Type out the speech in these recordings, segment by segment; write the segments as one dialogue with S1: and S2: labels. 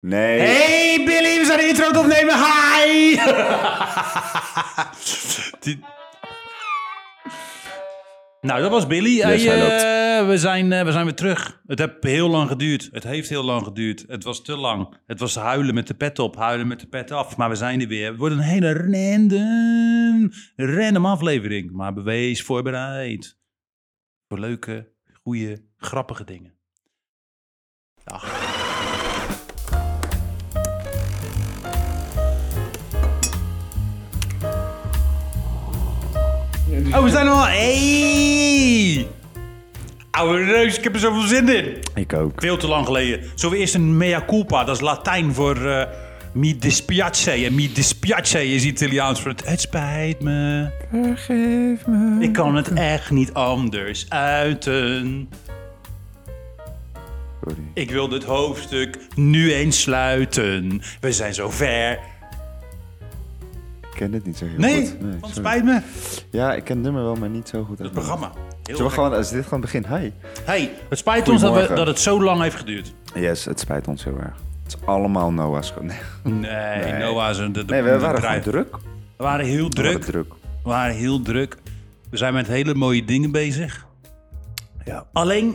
S1: Nee.
S2: Hey Billy, we zijn de intro aan het opnemen. Hi! Die- Nou, dat was Billy. Hey,
S1: hij loopt.
S2: eh, we, zijn, eh, we zijn weer terug. Het heeft heel lang geduurd. Het heeft heel lang geduurd. Het was te lang. Het was huilen met de pet op, huilen met de pet af. Maar we zijn er weer. Het wordt een hele random, random aflevering. Maar bewees voorbereid. Voor leuke, goede, grappige dingen. Oh, we zijn al. Hey! Oude reus, ik heb er zoveel zin in.
S1: Ik ook.
S2: Veel te lang geleden. Zullen we eerst een mea culpa, dat is Latijn voor eh, mi dispiace. En mi dispiace is Italiaans voor het, het spijt me.
S1: Vergeef me.
S2: Ik kan het echt niet anders uiten.
S1: Sorry.
S2: Ik wil dit hoofdstuk nu eens sluiten. We zijn zo ver.
S1: Ik ken dit niet zo heel
S2: Nee,
S1: goed.
S2: want
S1: sorry.
S2: spijt me.
S1: Ja, ik ken het nummer wel, maar niet zo goed.
S2: Het programma. Heel
S1: Zullen we
S2: gek.
S1: gewoon, als dit gewoon begin, hi.
S2: Hey, het spijt ons dat, we,
S1: Goedemorgen.
S2: dat het zo lang heeft geduurd.
S1: Yes, het spijt ons heel erg. Het is allemaal Noah's schuld. Nee,
S2: Nee,
S1: Nee.
S2: Noah is een... de- de-
S1: nee we
S2: de
S1: waren
S2: bedrijf-
S1: gewoon druk. We
S2: We waren heel
S1: waren
S2: druk.
S1: druk.
S2: We waren heel druk. We zijn met hele mooie dingen bezig.
S1: Ja.
S2: Alleen,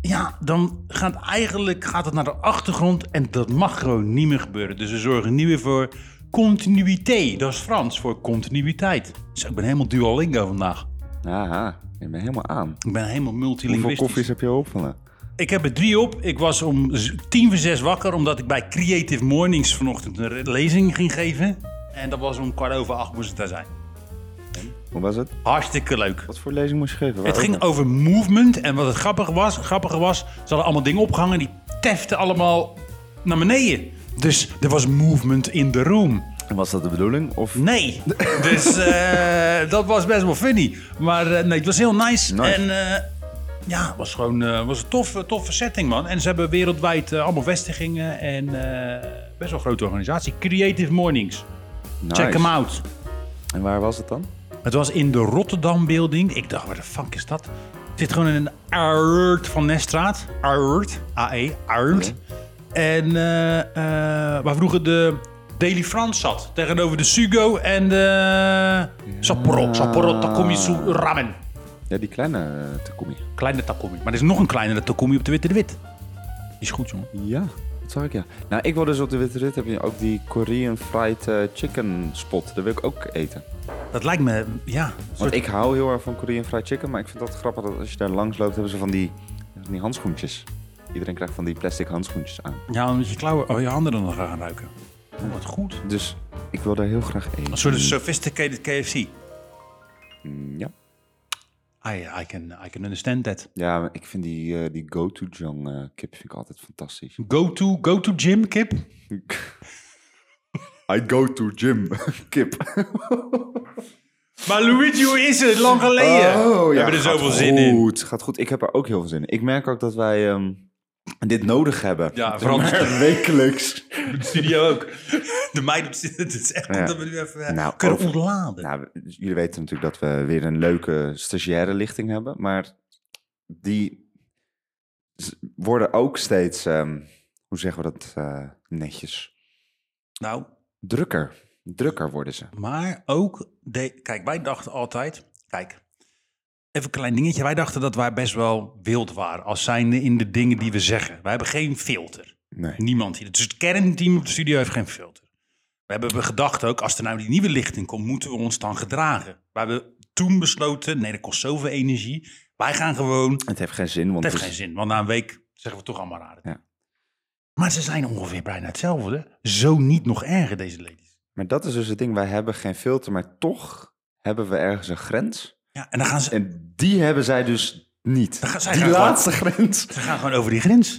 S2: ja, dan gaat eigenlijk gaat het naar de achtergrond en dat mag gewoon niet meer gebeuren. Dus we zorgen nu weer voor continuïteit. Dat is Frans voor continuïteit. Dus ik ben helemaal Duolingo vandaag.
S1: Aha, je bent helemaal aan.
S2: Ik ben helemaal
S1: Hoeveel
S2: multilinguistisch.
S1: koffies heb je op van?
S2: Ik heb er drie op. Ik was om z- tien voor zes wakker omdat ik bij Creative Mornings vanochtend een re- lezing ging geven. En dat was om kwart over acht moest het daar zijn.
S1: Hoe was het?
S2: Hartstikke leuk.
S1: Wat voor lezing moest je geven?
S2: Het ging over movement en wat het grappige was, grappige was ze hadden allemaal dingen opgehangen die teften allemaal naar beneden. Dus er was movement in the room.
S1: Was dat de bedoeling? Of...
S2: Nee. Dus eh, dat was best wel funny. Maar eh, nee, het was heel nice.
S1: Nice.
S2: En eh, ja, het was gewoon eh, was een toffe, toffe setting, man. En ze hebben wereldwijd eh, allemaal vestigingen en eh, best wel een grote organisatie. Creative Mornings.
S1: Nice.
S2: Check hem out.
S1: En waar was het dan?
S2: Het was in de Rotterdam Building. Ik dacht, waar de fuck is dat? Het zit gewoon in een Aert van Nestraat. Aert. AE. Aert. En eh, eh, waar vroeger de Daily France zat. Tegenover de Sugo en de Sapporo. Sapporo Takomisu Ramen.
S1: Ja, die kleine uh, Takumi.
S2: Kleine Takomi. Maar er is nog een kleinere Takomi op de Witte de Wit. Die is goed, jongen.
S1: Ja, dat zag ik ja. Nou, ik wil dus op de Witte Rit heb je ook die Korean Fried eh, Chicken spot. Dat wil ik ook eten.
S2: Dat lijkt me, ja.
S1: Want ik hou heel erg van Korean Fried Chicken, maar ik vind dat grappig dat als je daar langs loopt, hebben ze van die, van die handschoentjes. Iedereen krijgt van die plastic handschoentjes aan.
S2: Ja, omdat je klauwen, oh, je handen dan nog gaan ruiken. Oh, wat goed.
S1: Dus ik wil daar heel graag eten.
S2: Een soort sophisticated KFC.
S1: Mm, Ja,
S2: I, I, can, I can understand that.
S1: ja maar ik vind die, eh, die gochujang eh kip vind ik altijd fantastisch.
S2: Go-to, go-to gym, Kip?
S1: I go to gym, kip.
S2: Maar Luigi, hoe is het? Lang geleden. We hebben er
S1: Oh, gaat
S2: zoveel zin in.
S1: Goed, gaat goed. Ik heb er ook heel veel zin in. Ik merk ook dat wij ehm, dit nodig hebben.
S2: Ja, vooral-
S1: Maar wekelijks.
S2: De studio ook. De meid op studio. Het is echt
S1: Ja.
S2: dat we nu even eh,
S1: Nou,
S2: kunnen
S1: over-
S2: ontladen.
S1: Nou, we- jullie weten natuurlijk dat we weer een leuke stagiaire lichting hebben, maar die z- worden ook steeds, ehm, hoe zeggen we dat eh, netjes,
S2: Nou,
S1: drukker. Drukker worden ze.
S2: maar ook... De, kijk, wij dachten altijd... Kijk, even een klein dingetje. Wij dachten dat wij best wel wild waren. Als zijnde in de dingen die we zeggen. Wij hebben geen filter.
S1: Nee.
S2: Niemand hier. Dus het kernteam op de studio heeft geen filter. We hebben gedacht ook, als er nou die nieuwe lichting komt, moeten we ons dan gedragen. We hebben toen besloten, nee, dat kost zoveel energie. Wij gaan gewoon, het
S1: Het heeft geen zin, want
S2: heeft
S1: het
S2: geen
S1: is-
S2: zin. Want na een week zeggen we toch allemaal raar.
S1: Ja.
S2: Maar ze zijn ongeveer bijna hetzelfde. Zo niet nog erger, deze ladies.
S1: maar dat is dus het ding. Wij hebben geen filter, maar toch hebben we ergens een grens.
S2: Ja, en dan gaan ze,
S1: En die hebben zij dus niet.
S2: Dan gaan zij
S1: die
S2: gaan
S1: laatste grens.
S2: ze gaan gewoon over die grens.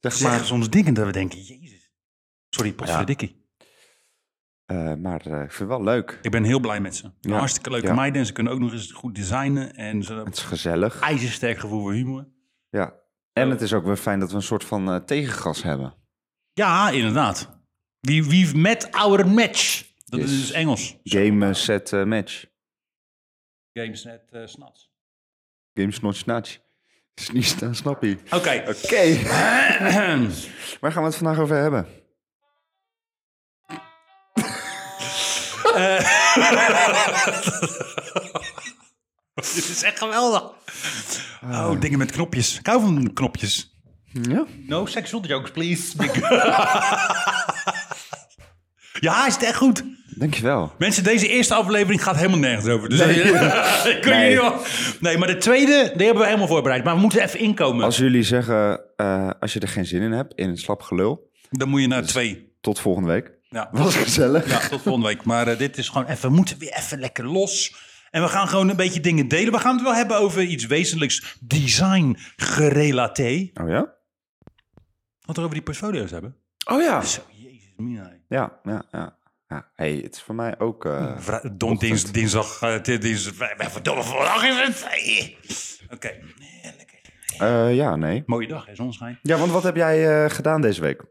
S1: Zeg
S2: Ze zeggen
S1: maar.
S2: soms dingen dat we denken, jezus. Sorry, potverdikkie.
S1: Eh, maar eh, ik vind het wel leuk.
S2: Ik ben heel blij met ze.
S1: Ja.
S2: Hartstikke leuke
S1: Ja.
S2: meiden. En ze kunnen ook nog eens goed designen. En ze hebben
S1: Het is gezellig.
S2: een ijzersterk gevoel voor humor.
S1: Ja. En het is ook weer fijn dat we een soort van eh, tegengas hebben.
S2: Ja, inderdaad. Wie, wie met our match. Dat
S1: Yes.
S2: is dus Engels.
S1: Game eh, set eh, match.
S2: Games net uh, snats.
S1: Games not snatch. Snitch, dan snap je.
S2: Oké.
S1: Oké. Waar gaan we het vandaag over hebben?
S2: Dit is echt geweldig. Oh, dingen met knopjes. Ik hou van knopjes.
S1: Ja.
S2: No sexual jokes, please. ja, is het echt goed.
S1: Dankjewel.
S2: Mensen, deze eerste aflevering gaat helemaal nergens over. Dus Ik kun
S1: Nee.
S2: je wel- nee, maar de tweede, die hebben we helemaal voorbereid. Maar we moeten even inkomen.
S1: Als jullie zeggen, eh, als je er geen zin in hebt, in een slap gelul,
S2: Dan moet je naar twee.
S1: tot volgende week.
S2: Ja.
S1: Was gezellig.
S2: Ja, tot volgende week. Maar eh, dit is gewoon even, we moeten weer even lekker los. En we gaan gewoon een beetje dingen delen. We gaan het wel hebben over iets wezenlijks design gerelateerd.
S1: Oh ja?
S2: Wat we over die portfolio's hebben.
S1: Oh ja.
S2: Zo, jezus mina.
S1: Ja, ja, ja. ja. hey, het is voor mij ook... eh,
S2: Vra- Don dins, dinsdag, eh, dit is... eh, Verdomme, vandaag is het... Oké, lekker.
S1: eh, ja, nee.
S2: Mooie dag, hè, zonschijn.
S1: Ja, want wat heb jij eh, gedaan deze week?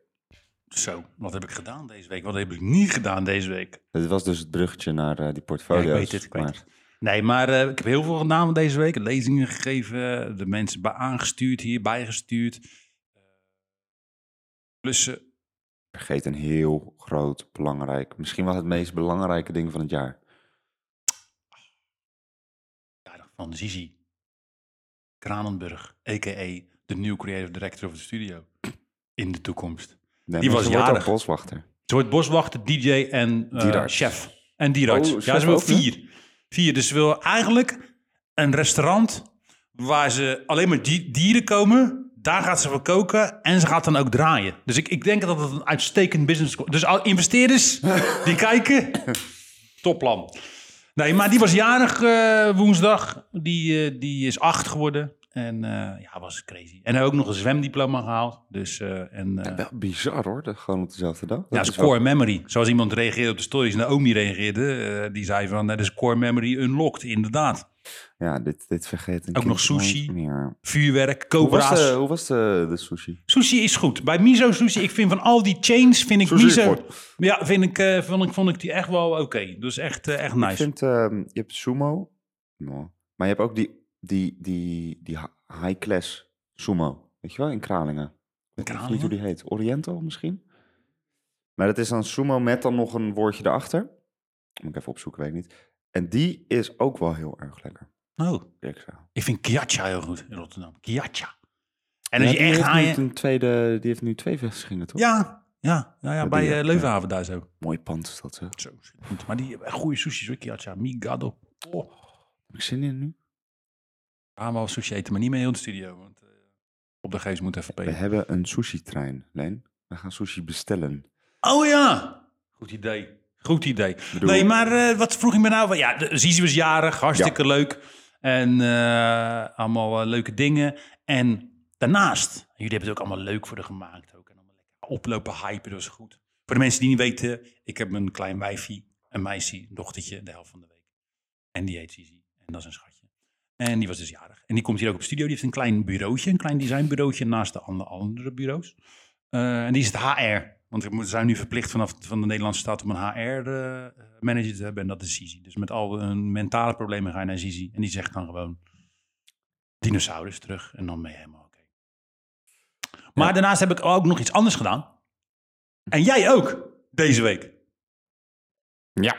S2: Zo, wat heb ik gedaan deze week? Wat heb ik niet gedaan deze week?
S1: Dit was dus het bruggetje naar eh, die
S2: Ja,
S1: portfolio's.
S2: ik weet het, ik weet
S1: maar-
S2: het. Nee, maar eh, ik heb heel veel gedaan deze week. Lezingen gegeven, de mensen bij aangestuurd, hier bijgestuurd. Plussen.
S1: Vergeet een heel groot, belangrijk... Misschien wel het meest belangrijke ding van het jaar.
S2: verjaardag van Zizi Kranenburg, a.k.a. de new creative director of the studio in de toekomst.
S1: Nee,
S2: Die
S1: maar
S2: was
S1: ze wordt ook
S2: jarig.
S1: boswachter.
S2: Ze wordt boswachter, DJ en eh,
S1: Dierarts.
S2: chef. En dierarts.
S1: Oh,
S2: ja,
S1: chef
S2: ze wil
S1: ook, hè?
S2: vier. Vier, dus ze wil eigenlijk een restaurant waar ze alleen maar di- dieren komen. Daar gaat ze voor koken en ze gaat dan ook draaien. Dus ik, ik denk dat het een uitstekend business... Dus al investeerders die kijken, topplan. Nee, maar die was jarig eh, woensdag. Die, eh, die is acht geworden. En eh, ja, was crazy. En hij heeft ook nog een zwemdiploma gehaald. Dus, eh, en, eh,
S1: Wel bizar hoor, dat gewoon op dezelfde dag.
S2: ja,
S1: Dat
S2: dat is
S1: wel-
S2: core memory. Zoals iemand reageerde op de stories, Naomi reageerde, eh, die zei van, dat is core memory unlocked, inderdaad.
S1: Ja, dit, dit vergeet een
S2: Ook nog
S1: kind nooit
S2: sushi.
S1: meer.
S2: Vuurwerk,
S1: Hoe was,
S2: cobra's.
S1: de, hoe was eh, de, de sushi?
S2: Sushi is goed. Bij miso sushi, ik vind van al die chains, vind ik
S1: Sushi is
S2: miso...
S1: goed.
S2: Ja, vind ik, eh, vond ik, vond ik die echt wel oké. Dus echt, eh, echt nice.
S1: Ik vind, ehm, je hebt sumo, Nou, maar je hebt ook die, die, die, die ha- high-class sumo. Weet je wel, in Kralingen. Ik weet
S2: Kralingen?
S1: niet hoe die heet. Oriental misschien? Maar dat is dan sumo met dan nog een woordje erachter. Moet ik even opzoeken, weet ik niet. En die is ook wel heel erg lekker.
S2: Oh,
S1: Ik zou.
S2: ik vind kiatcha heel goed in Rotterdam. Kiatcha. En
S1: Ja, die
S2: als je echt
S1: heeft nu
S2: haaien...
S1: een tweede, die heeft nu twee vestigingen, toch?
S2: Ja, ja, ja, ja
S1: die,
S2: bij
S1: ja.
S2: eh, Leuvenhaven daar zo.
S1: Mooi pand is dat, hè? Heb
S2: Zo, goed. Maar die hebben echt goede sushi, hoor, kiatcha. Migado. Oh.
S1: ik zin in nu?
S2: Gaan we wel sushi eten, maar niet mee in de studio. Want eh, op de geest moet even
S1: We
S2: peten.
S1: hebben een sushi-trein, Leen. We gaan sushi bestellen.
S2: Oh ja! Goed idee. Goed idee.
S1: bedoel-
S2: Nee, maar eh, wat vroeg je me nou? Ja, de- Zizi was jarig, hartstikke leuk. En eh, allemaal eh, leuke dingen. En daarnaast, jullie hebben het ook allemaal leuk voor de gemaakt. Ook. En allemaal lekker oplopen, hypen, dat is goed. Voor de mensen die niet weten, ik heb een klein wijfie, een meisje, een dochtertje, de helft van de week. En die heet Zizi. En dat is een schatje. En die was dus jarig. En die komt hier ook op studio. Die heeft een klein bureautje, een klein designbureautje naast de ander- andere bureaus. Eh, en die is het HR. Want we moeten- zijn nu verplicht vanaf van de Nederlandse staat om een HR-manager te hebben. En dat is Zizi. Dus met al hun mentale problemen ga je naar Zizi. En die zegt dan gewoon dinosaurus terug. En dan ben je helemaal oké. Maar daarnaast heb ik ook nog iets anders gedaan. En jij ook, deze week.
S1: Ja.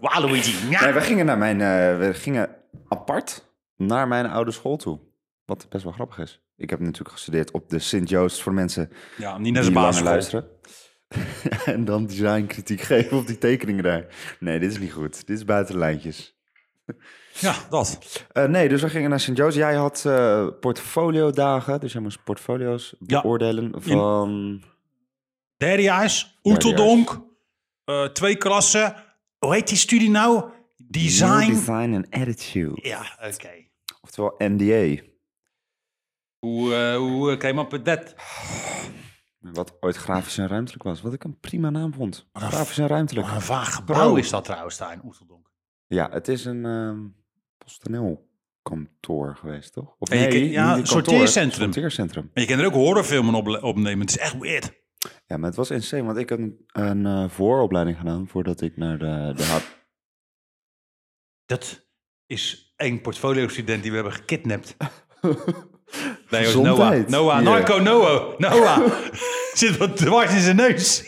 S2: Waluigi. Ja.
S1: Nee, we gingen, naar mijn, eh, we gingen apart naar mijn oude school toe. Wat best wel grappig is. Ik heb natuurlijk gestudeerd op de Sint-Joost voor mensen
S2: ja, niet naar
S1: die
S2: zijn
S1: langer
S2: baas
S1: luisteren. en dan designkritiek geven op die tekeningen daar. Nee, dit is niet goed. Dit is buiten de lijntjes.
S2: Ja, dat.
S1: Eh, nee, dus we gingen naar St. Joe's. Jij had eh portfolio dagen, dus jij moest portfolio's
S2: Ja.
S1: beoordelen van...
S2: Derjaars, Oeteldonk, eh, twee klassen. Hoe heet die studie nou? Design.
S1: New design and attitude.
S2: Ja, oké.
S1: Oftewel NDA.
S2: Hoe, eh, hoe eh, came up with that?
S1: Wat ooit grafisch en ruimtelijk was. Wat ik een prima naam vond.
S2: een
S1: Grafisch en ruimtelijk.
S2: Wat een vaag gebouw
S1: Pro.
S2: is dat trouwens daar in Oeteldonk.
S1: Ja, het is een ehm PostNL kantoor geweest, toch? Of
S2: En je ken-
S1: niet
S2: ja,
S1: een
S2: sorteercentrum.
S1: Sorteercentrum.
S2: En je kan er ook horrorfilmen op opnemen. Het is echt weird.
S1: Ja, maar het was insane, want ik heb een, een eh, vooropleiding gedaan voordat ik naar de... de H-
S2: Dat is één portfolio-student die we hebben gekidnapt. Nee, hoor, Noah.
S1: Gezondheid.
S2: Noah.
S1: Hier.
S2: Narco Noah. Noah. Zit wat dwars in zijn neus.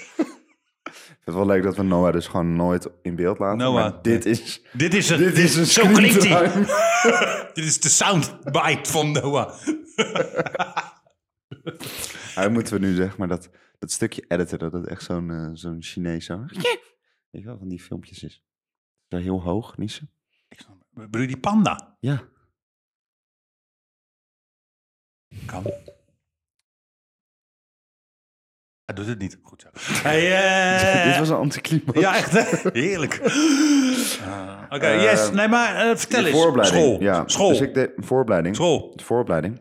S1: is wel leuk dat we Noah dus gewoon nooit in beeld laten.
S2: Noah,
S1: maar dit is...
S2: Dit is het.
S1: Dit is een
S2: Zo klinkt hij.
S1: screentime.
S2: Dit is de soundbite van Noah.
S1: Hij moeten we nu zeg maar dat, dat stukje editen, dat het echt zo'n eh, zo'n Chinees zo... Weet je wel, van die filmpjes is. Zo heel hoog, niet zo?
S2: Bedoel je die panda?
S1: Ja.
S2: Kan. Hij doet het niet. Goed zo. Hey, eh,
S1: Dit was een anticlimax.
S2: Ja, echt. hè? Heerlijk. Ah, Oké, yes. Nee, maar eh, vertel
S1: De
S2: eens.
S1: vooropleiding,
S2: School.
S1: Ja.
S2: School.
S1: Dus ik deed vooropleiding.
S2: School.
S1: De vooropleiding.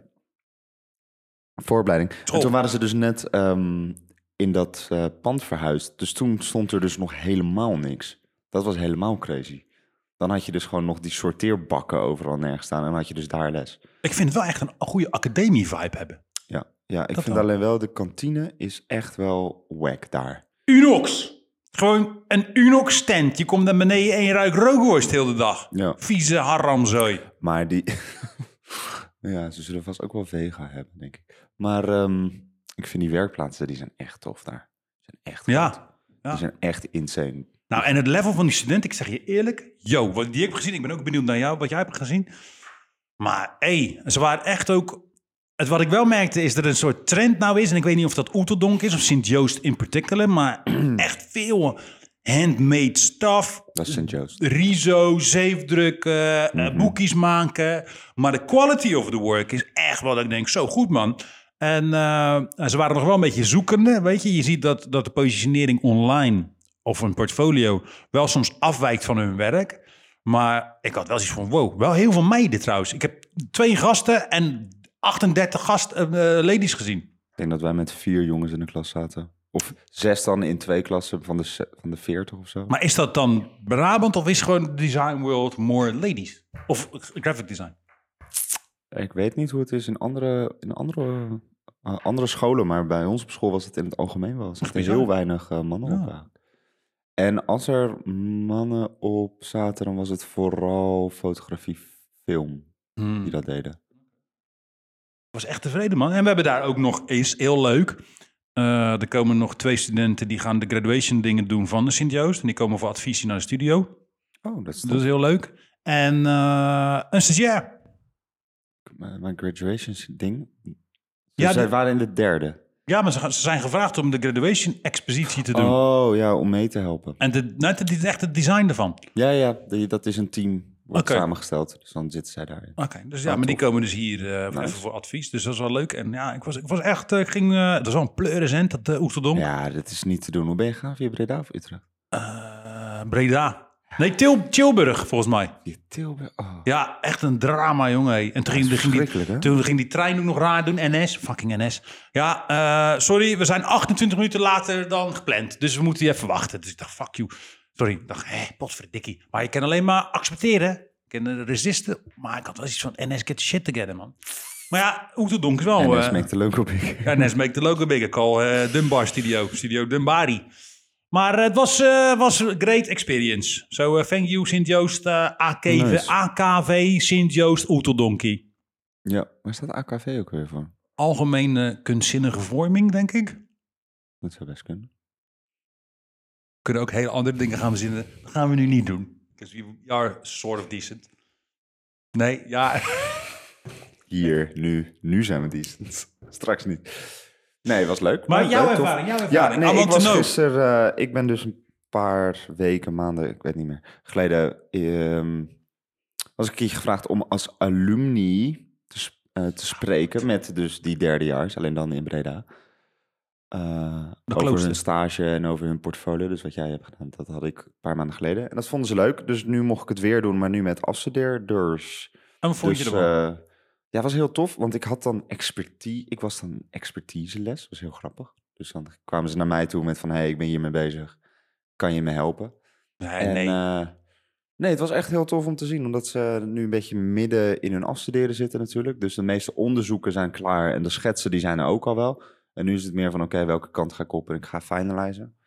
S1: Vooropleiding.
S2: School.
S1: En toen waren ze dus net ehm, in dat eh, pand verhuisd. Dus toen stond er dus nog helemaal niks. Dat was helemaal crazy. Dan had je dus gewoon nog die sorteerbakken overal nergens staan. En dan had je dus daar les.
S2: Ik vind het wel echt een goede academie-vibe hebben.
S1: Ja, ja ik
S2: Dat
S1: vind
S2: wel.
S1: alleen wel, de kantine is echt wel wack daar.
S2: Unox. Gewoon een Unox-tent. Je komt naar beneden en je ruikt rookworst heel de dag.
S1: Ja.
S2: Vieze haramzooi.
S1: Maar die... ja, ze zullen vast ook wel vega hebben, denk ik. Maar ehm, ik vind die werkplaatsen, die zijn echt tof daar. Die zijn echt
S2: Ja.
S1: goed.
S2: Ja.
S1: Die zijn echt insane.
S2: Nou, en het level van die student, ik zeg je eerlijk, yo, wat die heb ik gezien, ik ben ook benieuwd naar jou, wat jij hebt gezien. Maar hé, ze waren echt ook. Het, wat ik wel merkte is dat er een soort trend nou is, en ik weet niet of dat Oeteldonk is of Sint-Joost in particular, maar echt veel handmade stuff.
S1: Dat is St. Joost.
S2: Riso, zeefdrukken, eh, boekjes maken. Maar de quality of the work is echt wat ik denk, zo goed man. En eh, ze waren nog wel een beetje zoekende, weet je. Je ziet dat, dat de positionering online of een portfolio wel soms afwijkt van hun werk. Maar ik had wel zoiets van, wow, wel heel veel meiden trouwens. Ik heb twee gasten en 38 gast, eh, eh, ladies gezien.
S1: Ik denk dat wij met vier jongens in de klas zaten. Of zes dan in twee klassen van de, se- van de veertig of zo.
S2: Maar is dat dan Brabant of is gewoon design world more ladies? Of graphic design?
S1: Ik weet niet hoe het is in andere, in andere, eh, andere scholen, maar bij ons op school was het in het algemeen wel. Er zaten
S2: bizar.
S1: heel weinig eh, mannen
S2: Ja.
S1: op. eigenlijk. En als er mannen op zaten, dan was het vooral fotografie, film
S2: Hmm.
S1: die dat deden.
S2: was echt tevreden, man. En we hebben daar ook nog eens heel leuk. eh, er komen nog twee studenten die gaan de graduation dingen doen van de Sint-Joost. En die komen voor advies hier naar de studio.
S1: Oh, dat is
S2: Dat is heel leuk. En eh, een stagiair.
S1: mijn, mijn graduation ding. Dus
S2: Ja,
S1: zij
S2: die-
S1: waren in de derde.
S2: Ja, maar ze, gaan- ze zijn gevraagd om de graduation expositie te doen.
S1: Oh ja, om mee te helpen.
S2: En de, net het, echt het design ervan. Oké,
S1: Ja, ja, die- dat is een team. Wordt
S2: Oké.
S1: samengesteld, dus dan zitten zij daarin.
S2: dus ja,
S1: Ah,
S2: maar die
S1: tof.
S2: komen dus hier eh, even
S1: Nice.
S2: voor advies. Dus dat is wel leuk. En ja, ik was, ik was echt, eh, ik ging, eh dat is wel een pleurisent, dat uh, Oesterdonk.
S1: Ja, dat is niet te doen. Hoe ben je gegaan? Via Breda of Utrecht?
S2: Eh, Breda. Nee, Til, Tilburg volgens mij.
S1: Via Tilburg. Oh.
S2: Ja, echt een drama, jongen. hé. En toen ging, toen ging
S1: verschrikkelijk,
S2: die,
S1: hè?
S2: toen ging die trein ook nog raar doen. NS, fucking NS. Ja, eh, sorry, we zijn 28 minuten later dan gepland. Dus we moeten je even wachten. Dus ik dacht, fuck you. Sorry, ik dacht, hé, potverdikkie. Maar je kan alleen maar accepteren. Je kan eh, resisten. Maar ik had wel iets van, NS, get the shit together, man. Maar ja, Oeterdonk is wel...
S1: en dat
S2: eh,
S1: smaakt de leuk op ik.
S2: ja, Nes make the logo bigger. Call eh, Dunbar Studio. Studio Dunbari. Maar eh, het was, eh, was een great experience. Zo, eh, thank you Sint-Joost, eh, AKV,
S1: Nice.
S2: AKV Sint-Joost Oeteldonkie.
S1: Ja, waar staat AKV ook weer voor?
S2: Algemene eh, kunstzinnige vorming, denk ik.
S1: Dat zou best kunnen.
S2: Kunnen ook hele andere dingen gaan verzinnen. Dat gaan we nu niet doen. Because we are sort of decent. Nee, ja.
S1: Hier, nu. Nu zijn we decent. Straks niet. Nee, was leuk.
S2: Maar
S1: Ja,
S2: jouw
S1: leuk, tof.
S2: ervaring, jouw
S1: Ja,
S2: ervaring. I
S1: nee, ik
S2: want to
S1: was
S2: know.
S1: gisteren... eh, ik ben dus een paar weken, maanden, ik weet niet meer, geleden... ehm, was ik een keer gevraagd om als alumni te, s- eh, te spreken met dus die derdejaars. Alleen dan in Breda. Eh, over
S2: klooster.
S1: hun stage en over hun portfolio. Dus wat jij hebt gedaan, dat had ik een paar maanden geleden. En dat vonden ze leuk. Dus nu mocht ik het weer doen, maar nu met afstudeerders.
S2: En wat vond je
S1: Dus,
S2: ervan?
S1: eh, ja, was heel tof, want ik had dan expertise. Ik was dan expertiseles, was heel grappig. Dus dan kwamen ze naar mij toe met van, hé, hey, ik ben hiermee bezig. Kan je me helpen?
S2: nee,
S1: en,
S2: nee.
S1: eh, nee, het was echt heel tof om te zien, omdat ze nu een beetje midden in hun afstuderen zitten natuurlijk. Dus de meeste onderzoeken zijn klaar en de schetsen die zijn er ook al wel. En nu is het meer van, oké, welke kant ga ik op en ik ga finalizen.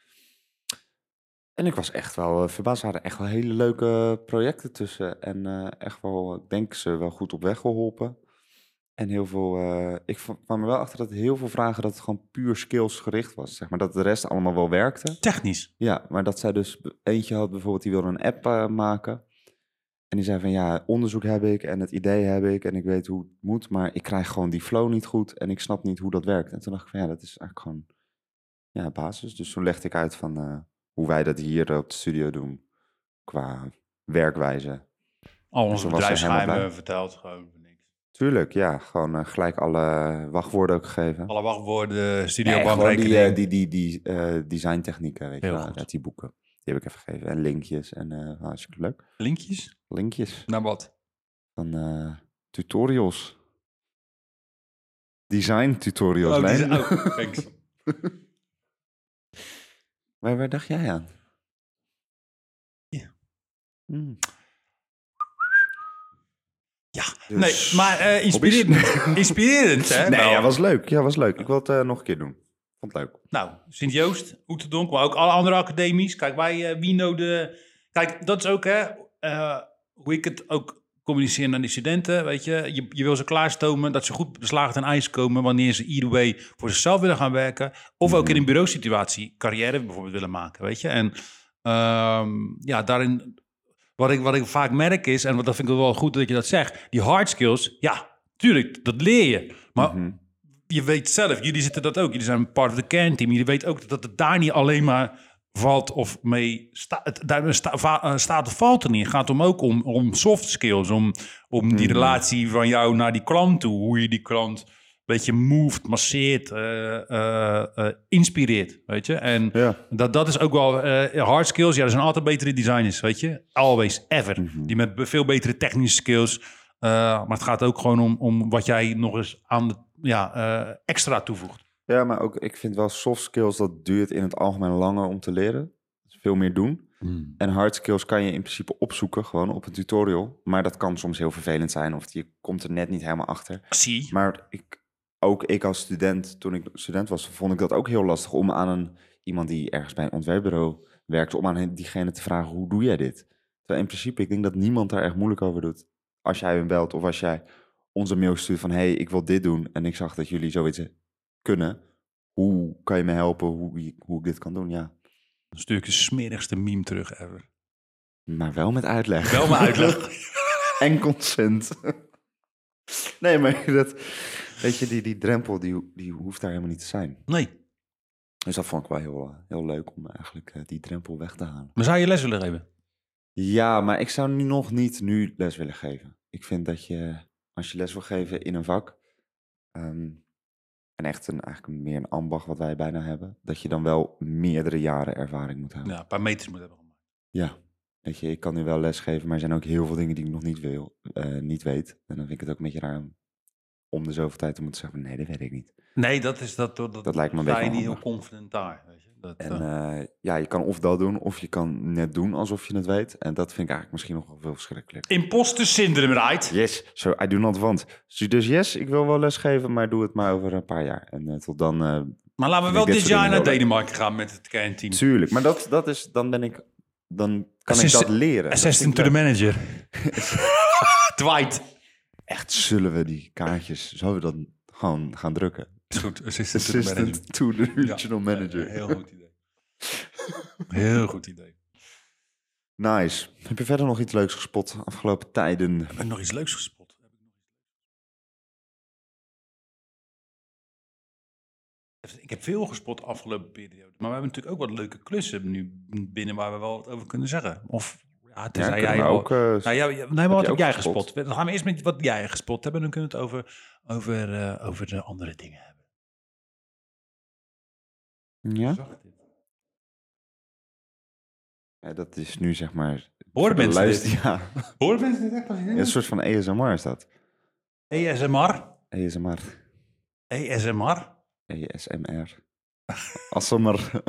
S1: En ik was echt wel eh, verbaasd. Er waren echt wel hele leuke projecten tussen. En eh, echt wel, ik denk ze wel goed op weg geholpen. En heel veel, eh, ik v- kwam er wel achter dat heel veel vragen dat het gewoon puur skills gericht was. Zeg maar dat de rest allemaal wel werkte.
S2: Technisch.
S1: Ja, maar dat zij dus eentje had bijvoorbeeld, die wilde een app eh, maken. En die zei van ja, onderzoek heb ik en het idee heb ik en ik weet hoe het moet, maar ik krijg gewoon die flow niet goed en ik snap niet hoe dat werkt. En toen dacht ik van ja, dat is eigenlijk gewoon ja, basis. Dus toen legde ik uit van eh, hoe wij dat hier op de studio doen qua werkwijze.
S2: Al
S1: Dus
S2: onze
S1: toen was hij helemaal
S2: bedrijfsgeheimen verteld. Gewoon niks.
S1: Tuurlijk, ja, gewoon eh, gelijk alle wachtwoorden ook gegeven.
S2: Alle wachtwoorden,
S1: Nee, gewoon
S2: studiobankrekening.
S1: die, eh, die, die, die eh, designtechnieken, weet je
S2: Heel
S1: wel,
S2: goed.
S1: uit die boeken. Die heb ik even gegeven. En linkjes en eh hartstikke leuk.
S2: Linkjes?
S1: Linkjes.
S2: Naar wat?
S1: Dan eh, tutorials. Design tutorials,
S2: Oh, die
S1: Lijn.
S2: zijn- oh, thanks.
S1: waar, waar dacht jij aan?
S2: Ja.
S1: Hmm.
S2: Ja,
S1: Dus-
S2: nee, maar eh, inspirerend. inspirerend, hè? Nou,
S1: Nee,
S2: wel.
S1: ja, was leuk. Ja, was leuk. Ik wil het eh, nog een keer doen. Vond het leuk.
S2: Nou, Sint-Joost, Oeterdonk, maar ook alle andere academies. Kijk, wij, eh Wino, de... Kijk, dat is ook, hè, eh, hoe ik het ook communiceer naar die studenten, weet je. Je, je wil ze klaarstomen, dat ze goed beslagen ten ijs komen wanneer ze either way voor zichzelf willen gaan werken. Of
S1: Mhm.
S2: ook in een bureausituatie carrière bijvoorbeeld willen maken, weet je. En ehm, ja, daarin, wat ik, wat ik vaak merk is, en wat, dat vind ik wel goed dat je dat zegt, die hard skills, ja, tuurlijk, dat leer je. Maar
S1: Mhm.
S2: je weet zelf, jullie zitten dat ook. Jullie zijn part of the can team. Jullie weten ook dat het daar niet alleen maar valt of mee sta- het- daar sta- va- eh, staat of valt er niet. Het gaat om ook om, om soft skills, om, om
S1: Mhm.
S2: die relatie van jou naar die klant toe. Hoe je die klant een beetje moved, masseert, eh, eh, eh, inspireert, weet je. En
S1: Ja.
S2: dat, dat is ook wel eh, hard skills. Ja, er zijn altijd betere designers, weet je. Always, ever.
S1: Mhm.
S2: Die met be- veel betere technische skills. Eh, maar het gaat ook gewoon om, om wat jij nog eens aan de, ja, eh, extra toevoegt.
S1: Ja, maar ook ik vind wel soft skills, dat duurt in het algemeen langer om te leren. Dus Veel meer doen.
S2: Hmm.
S1: En hard skills kan je in principe opzoeken, gewoon op een tutorial. Maar dat kan soms heel vervelend zijn of je komt er net niet helemaal achter.
S2: Zie.
S1: Maar ik, ook ik als student, toen ik student was, vond ik dat ook heel lastig om aan een, iemand die ergens bij een ontwerpbureau werkt, om aan hen- diegene te vragen, hoe doe jij dit? Terwijl in principe, ik denk dat niemand daar echt moeilijk over doet. Als jij hem belt of als jij onze mail stuurt van, hé, hey, ik wil dit doen en ik zag dat jullie zoiets eh, kunnen. Hoe kan je me helpen? Hoe, hoe ik dit kan doen? Ja,
S2: Dan stuur ik de smerigste meme terug ever.
S1: maar wel met uitleg.
S2: Wel mijn uitleg.
S1: en consent. nee, maar dat, weet je, die, die drempel die, die hoeft daar helemaal niet te zijn.
S2: Nee.
S1: Dus dat vond ik wel heel, eh, heel leuk om eigenlijk eh, die drempel weg te halen.
S2: Maar zou je les willen geven?
S1: Ja, maar ik zou nu nog niet nu les willen geven. Ik vind dat je, als je les wil geven in een vak, ehm, en echt een, eigenlijk meer een ambacht wat wij bijna hebben, dat je dan wel meerdere jaren ervaring moet hebben.
S2: Ja, een paar meters moet hebben. gemaakt.
S1: Ja, weet je, ik kan nu wel lesgeven, maar er zijn ook heel veel dingen die ik nog niet, wil, eh, niet weet. En dan vind ik het ook een beetje raar om, om de zoveel tijd te moeten zeggen van nee, dat weet ik niet.
S2: Nee, dat is dat. Dat,
S1: Dat lijkt me een
S2: sta
S1: beetje
S2: je niet heel
S1: onhandig.
S2: confident daar. Weet je? Dat,
S1: En
S2: eh,
S1: eh, ja, je kan of dat doen, of je kan net doen alsof je het weet. En dat vind ik eigenlijk misschien nog wel veel verschrikkelijker.
S2: Imposter syndrome, right?
S1: Yes, so I do not want. Dus yes, ik wil wel lesgeven, maar doe het maar over een paar jaar. En eh, tot dan, eh,
S2: Maar laten we
S1: Ik
S2: wel
S1: denk
S2: dit
S1: dit soort
S2: jaar
S1: dingen
S2: naar
S1: wel leuk.
S2: Denemarken gaan met het kernteam.
S1: tuurlijk. Maar dat, dat is, dan ben ik, dan kan
S2: Assist-
S1: ik dat leren. Dat vind
S2: Assistant
S1: ik
S2: to the
S1: leuk.
S2: manager. Dwight.
S1: Echt zullen we die kaartjes, zullen we dat gewoon gaan drukken?
S2: Is goed, assistant, to the manager.
S1: Assistant to the regional
S2: Ja, eh,
S1: manager.
S2: Heel goed idee. Heel goed idee.
S1: Nice. Heb je verder nog iets leuks gespot afgelopen tijden?
S2: Heb ik nog iets leuks gespot? Ik heb veel gespot de afgelopen periode. Maar we hebben natuurlijk ook wat leuke klussen nu binnen waar we wel wat over kunnen zeggen. Of ja, tenzij
S1: kunnen
S2: jij
S1: we
S2: ook.
S1: ook. eh,
S2: Nou, ja, ja, nee, maar wat
S1: je
S2: heb
S1: ook
S2: jij
S1: gespot?
S2: gespot? Dan gaan we eerst met wat jij gespot hebt en dan kunnen we het over, over, eh, over de andere dingen hebben.
S1: ja? Ja, dat is nu zeg maar.
S2: Horen
S1: de
S2: mensen
S1: luister-
S2: dit?
S1: Ja.
S2: Horen mensen dit echt?
S1: Ja, een soort van ASMR is dat.
S2: ASMR.
S1: ASMR.
S2: ASMR.
S1: ASMR. ASMR.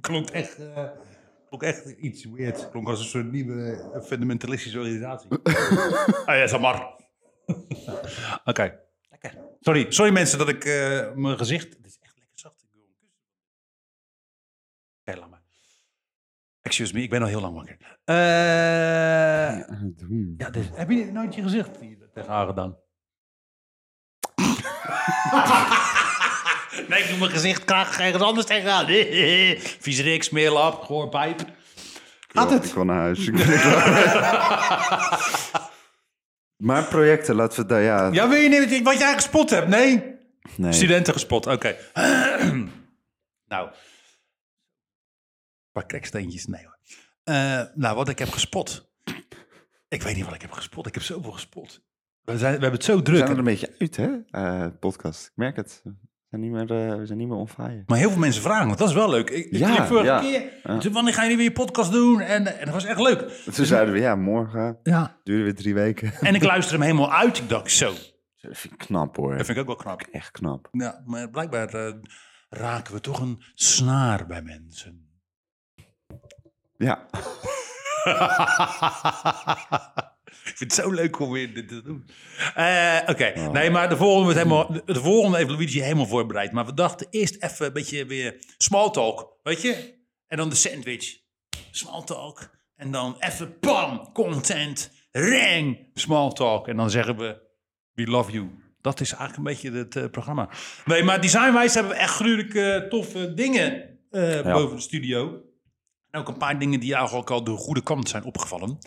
S2: Klonk echt, eh, klonk echt iets weird. Klonk als een soort nieuwe eh, fundamentalistische organisatie. ASMR. Oké. Lekker. Sorry. Sorry mensen dat ik eh, mijn gezicht... Het is echt lekker zacht. Ik wil hem kussen. Oké, laat maar. Excuse me, ik ben al heel lang wakker. Eh...
S1: Doen. Eh,
S2: Ja, dus, heb je nooit je gezicht hier tegenaan gedaan? Nee, ik doe mijn gezicht graag ergens anders tegenaan. Vies rik, smeerlap, goor pijp. Had
S1: Ik
S2: het.
S1: wil naar huis. Ik ben klaar. maar projecten, laten we het daar... Ja,
S2: Ja, wil je niet wat jij gespot hebt? Nee.
S1: nee.
S2: Studenten gespot, oké. nou. Een paar kreksteentjes, nee hoor. Eh, nou, wat ik heb gespot. Ik weet niet wat ik heb gespot. Ik heb zoveel gespot. We, zijn, we hebben het zo
S1: We
S2: druk.
S1: zijn er een beetje uit, hè? eh, podcast. Ik merk het. We zijn niet meer, eh, we zijn niet meer on fire.
S2: Maar heel veel mensen vragen, want dat is wel leuk. Ik, ik
S1: Ja,
S2: liep vorige
S1: ja.
S2: keer. Toen, wanneer ga je weer je podcast doen? En, en dat was echt leuk.
S1: Toen zeiden we, ja, morgen
S2: Ja.
S1: duurde weer drie weken.
S2: En ik luister hem helemaal uit. Ik dacht, zo.
S1: Dat vind ik knap, hoor.
S2: Dat vind ik ook wel knap.
S1: Echt knap.
S2: Ja, maar blijkbaar eh, raken we toch een snaar bij mensen.
S1: Ja,
S2: ik vind het zo leuk om weer dit te doen. Eh, Oké, nee, maar de volgende, werd helemaal, de volgende heeft Luigi helemaal voorbereid. Maar we dachten eerst even een beetje weer small talk, weet je? En dan de sandwich. Small talk. En dan even pam, content, rang, small talk. En dan zeggen we, we love you. Dat is eigenlijk een beetje het eh, programma. Nee, maar designwijs hebben we echt gruwelijk eh, toffe dingen eh,
S1: Ja.
S2: boven de studio. En ook een paar dingen die jou ook al de goede kant zijn opgevallen.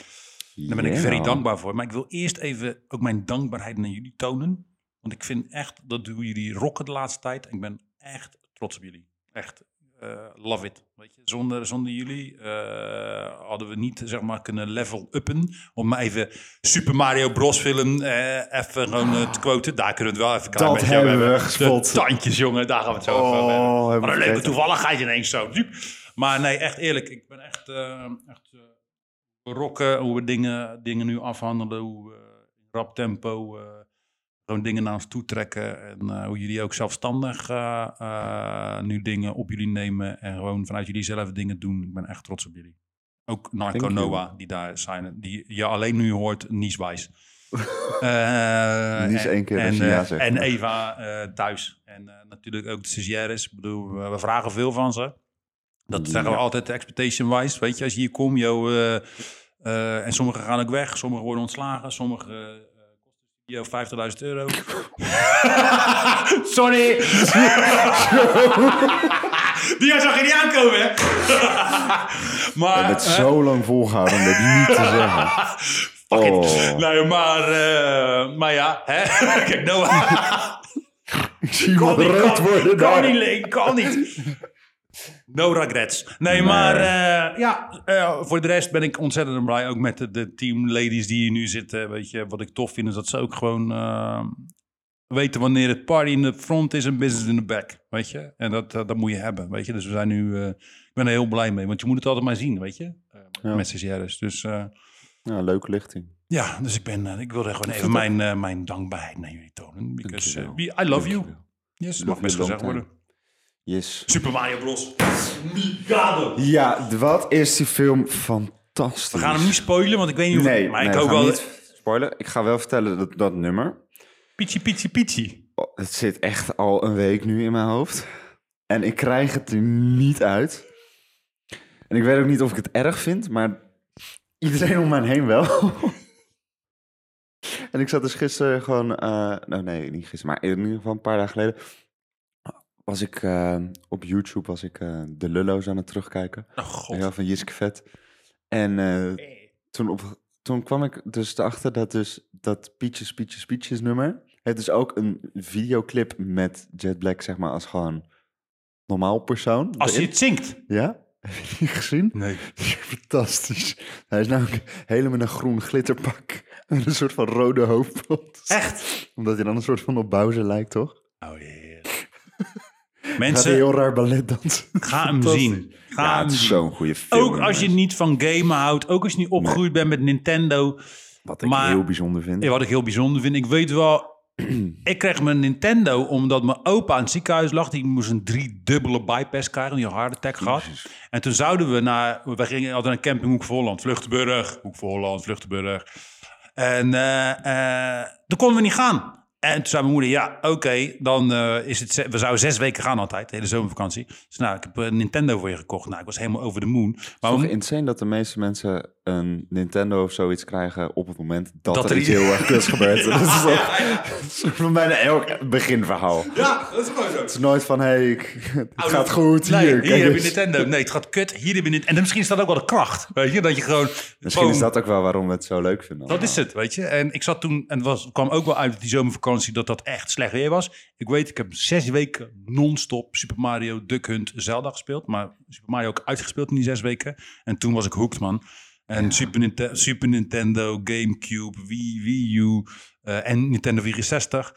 S2: Daar ben ik
S1: Ja.
S2: very dankbaar voor. Maar ik wil eerst even ook mijn dankbaarheid naar jullie tonen. Want ik vind echt, dat doen jullie rocken de laatste tijd. En ik ben echt trots op jullie. Echt, eh, love it. Weet je? Zonder, zonder jullie eh, hadden we niet zeg maar, kunnen level uppen. Om maar even Super Mario Bros. film eh, even gewoon eh, te quoten. Daar kunnen we het wel even klaar
S1: Dat
S2: mee hebben.
S1: hebben we
S2: De
S1: gespot.
S2: tandjes, jongen. Daar gaan we het zo
S1: Oh,
S2: over
S1: hebben we
S2: hebben. Maar een leuke
S1: vergeten.
S2: toevalligheid ineens zo. Diep. Maar nee, echt eerlijk. Ik ben echt... eh, echt eh, we rocken, hoe we dingen, dingen nu afhandelen, hoe we in rap tempo eh, gewoon dingen naar ons toe trekken. En eh, hoe jullie ook zelfstandig eh, eh, nu dingen op jullie nemen en gewoon vanuit jullie zelf dingen doen. Ik ben echt trots op jullie. Ook Narco
S1: Thank you.
S2: Noah, die daar zijn, die je alleen nu hoort, nieswijs.
S1: Nies één keer
S2: en,
S1: als je ja
S2: eh,
S1: zegt.
S2: en Eva eh, thuis. En eh, natuurlijk ook de stagiaires. Ik bedoel, we, we vragen veel van ze.
S1: Mm,
S2: Dat zeggen we altijd expectation-wise. Weet je, als je hier komt, joh, eh, eh, en sommigen gaan ook weg, sommigen worden ontslagen, sommigen eh, eh, kosten de studio 50.000 euro. Sorry! Die zag je niet aankomen, hè? maar,
S1: En het
S2: eh,
S1: zo lang volgehouden om dat niet te zeggen.
S2: Fuck it.
S1: Oh.
S2: Nee, maar, eh, maar ja, hè? kijk Noah.
S1: Ik zie wat
S2: Kan niet,
S1: rood
S2: kan-
S1: worden
S2: Kan
S1: daar.
S2: niet, Leen, kan niet. No regrets. Nee, maar eh, ja, eh, voor de rest ben ik ontzettend blij. Ook met de, de teamladies die hier nu zitten. Weet je, wat ik tof vind is dat ze ook gewoon eh, weten wanneer het party in de front is en business in de back. Weet je, en dat, dat, dat moet je hebben. Weet je, dus we zijn nu, eh, ik ben er heel blij mee. Want je moet het altijd maar zien, weet je, eh,
S1: Ja.
S2: met stagiaires. Dus eh,
S1: Ja, leuke lichting.
S2: ja, dus ik, ben, eh, ik wilde gewoon even
S1: goed.
S2: mijn, eh, mijn dankbaarheid naar jullie tonen. Because eh,
S1: Dankjewel.
S2: we- I love you.
S1: Dankjewel.
S2: Yes,
S1: Love
S2: mag best
S1: you long
S2: gezegd
S1: time.
S2: worden.
S1: Yes.
S2: Super Mario Bros. Migado.
S1: Ja, d- wat is die film fantastisch.
S2: We gaan hem niet spoilen, want ik weet niet of...
S1: Nee,
S2: maar
S1: nee,
S2: ik
S1: we
S2: hoop
S1: gaan
S2: wel...
S1: Niet spoiler. Ik ga wel vertellen dat, dat nummer.
S2: Pietje, pietje, pietje.
S1: Oh, Het zit echt al een week nu in mijn hoofd. En ik krijg het er niet uit. En ik weet ook niet of ik het erg vind, maar iedereen om mij heen wel. en ik zat dus gisteren gewoon... eh, nou nee, niet gisteren, maar in ieder geval een paar dagen geleden... was ik eh, op YouTube was ik, eh, de Lullo's aan het terugkijken.
S2: Oh, god.
S1: Ja, van Jiske Vet. En eh, toen, op, toen kwam ik dus erachter dat dus dat Peaches, Peaches, Peaches nummer... Het is ook een videoclip met Jet Black, zeg maar, als gewoon normaal persoon.
S2: Als hij
S1: erin.
S2: het zingt.
S1: Ja? Heb je die gezien?
S2: Nee.
S1: Fantastisch. Hij is namelijk helemaal in een groen glitterpak. Met een soort van rode hoofdband.
S2: Echt?
S1: Omdat hij dan een soort van op Bowser lijkt, toch?
S2: Oh, yeah.
S1: Gaat hij
S2: Mensen,
S1: heel raar ballet dansen.
S2: ga hem
S1: Fantastisch.
S2: zien. Ga
S1: Ja,
S2: hem
S1: het is
S2: zien.
S1: zo'n goede film.
S2: Ook als je
S1: jongens.
S2: niet van gamen houdt. Ook als je niet opgegroeid bent met Nintendo.
S1: Wat ik
S2: maar-
S1: heel bijzonder vind.
S2: Ja, wat ik heel bijzonder vind, ik weet wel... ik kreeg mijn Nintendo omdat mijn opa in het ziekenhuis lag. Die moest een driedubbele bypass krijgen, die had een heart attack gehad. En toen zouden we naar... We gingen altijd naar camping Hoek voor Holland, Vluchtenburg. Hoek voor Holland, Vluchtenburg. En eh, eh, toen konden we niet gaan. En toen zei mijn moeder, ja, oké, dan eh, is het... ze- We zouden zes weken gaan altijd, de hele zomervakantie. Dus nou, ik heb een Nintendo voor je gekocht. Nou, ik was helemaal over de moon. Maar
S1: Toch
S2: mijn-
S1: insane dat de meeste mensen een Nintendo of zoiets krijgen op het moment dat,
S2: Dat
S1: er
S2: er
S1: iets
S2: iets-
S1: heel erg kuts gebeurt. Dat is wel- soort van bijna elk beginverhaal. Het
S2: Ja, dat is gewoon zo. Oh,
S1: is nooit van, hé, hey, ik- het gaat goed
S2: Nee,
S1: hier. kijk
S2: heb je
S1: eens.
S2: Nintendo. Nee, het gaat kut. Hier heb je Nintendo. En misschien is dat ook wel de kracht. Weet je, dat je gewoon...
S1: Misschien is
S2: boom.
S1: dat ook wel waarom we het zo leuk vinden.
S2: Dat is het, weet je. En ik zat toen, en het was, kwam ook wel uit die zomervakantie dat dat echt slecht weer was. Ik weet, ik heb zes weken non-stop Super Mario, Duck Hunt, Zelda gespeeld. Maar Super Mario ook uitgespeeld in die zes weken. En toen was ik hooked, man. En Super, Ninte- Super Nintendo, Gamecube, Wii, Wii U eh, en Nintendo 64.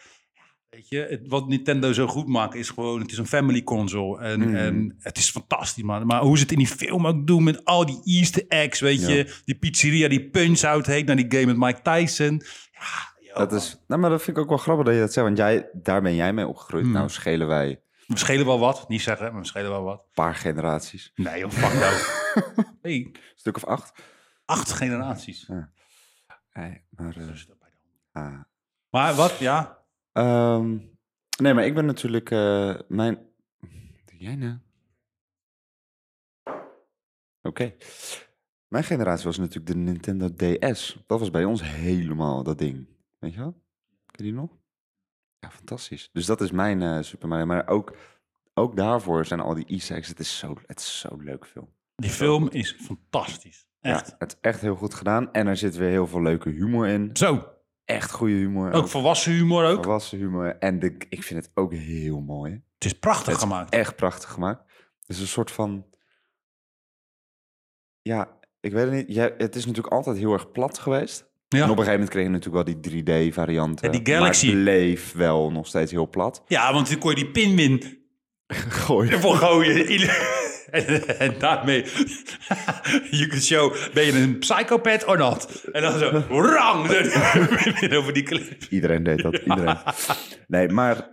S2: Weet je, het, wat Nintendo zo goed maakt is gewoon, het is een family console. En,
S1: Mm.
S2: en het is fantastisch, man. Maar hoe ze het in die film ook doen met al die easter eggs, weet
S1: Ja.
S2: je. Die pizzeria die Punch-Out heet, naar die game met Mike Tyson. Ja, joh,
S1: Dat is, nou, maar dat vind ik ook wel grappig dat je dat zegt, want jij, daar ben jij mee opgegroeid.
S2: Hmm.
S1: Nou schelen wij een
S2: We schelen wel wat, niet zeggen, maar we schelen wel wat.
S1: paar generaties.
S2: Nee joh, fuck nou. Hey,
S1: Een stuk of acht.
S2: acht generaties.
S1: Nee, maar, eh, ah.
S2: Maar wat, ja.
S1: Ehm, nee, maar ik ben natuurlijk eh, mijn. Wat doe jij nou? Oké. Mijn generatie was natuurlijk de Nintendo DS. Dat was bij ons helemaal dat ding. Weet je wel? Ken je die nog? Ja, fantastisch. Dus dat is mijn eh, Super Mario. Maar ook, ook daarvoor zijn al die Easter eggs. Het is zo- het is zo'n leuk film.
S2: Die film is fantastisch. Echt.
S1: Ja, het is echt heel goed gedaan. En er zit weer heel veel leuke humor in.
S2: Zo,
S1: Echt goede humor.
S2: ook volwassen humor ook.
S1: volwassen humor. En de, ik vind het ook heel mooi.
S2: Het is prachtig
S1: Het is
S2: gemaakt.
S1: echt prachtig gemaakt. Het is een soort van... Ja, ik weet het niet. Jij- het is natuurlijk altijd heel erg plat geweest. En
S2: Ja.
S1: op een gegeven moment kreeg je natuurlijk wel die 3D-varianten.
S2: Ja, die Galaxy.
S1: Maar het bleef wel nog steeds heel plat.
S2: ja, want toen kon je die pinwin
S1: Gooi.
S2: ervoor gooien. En, en daarmee, you can show, ben je een psychopath or not? En dan zo, rang, zo, over die clip.
S1: Iedereen deed dat. Iedereen. Nee, maar...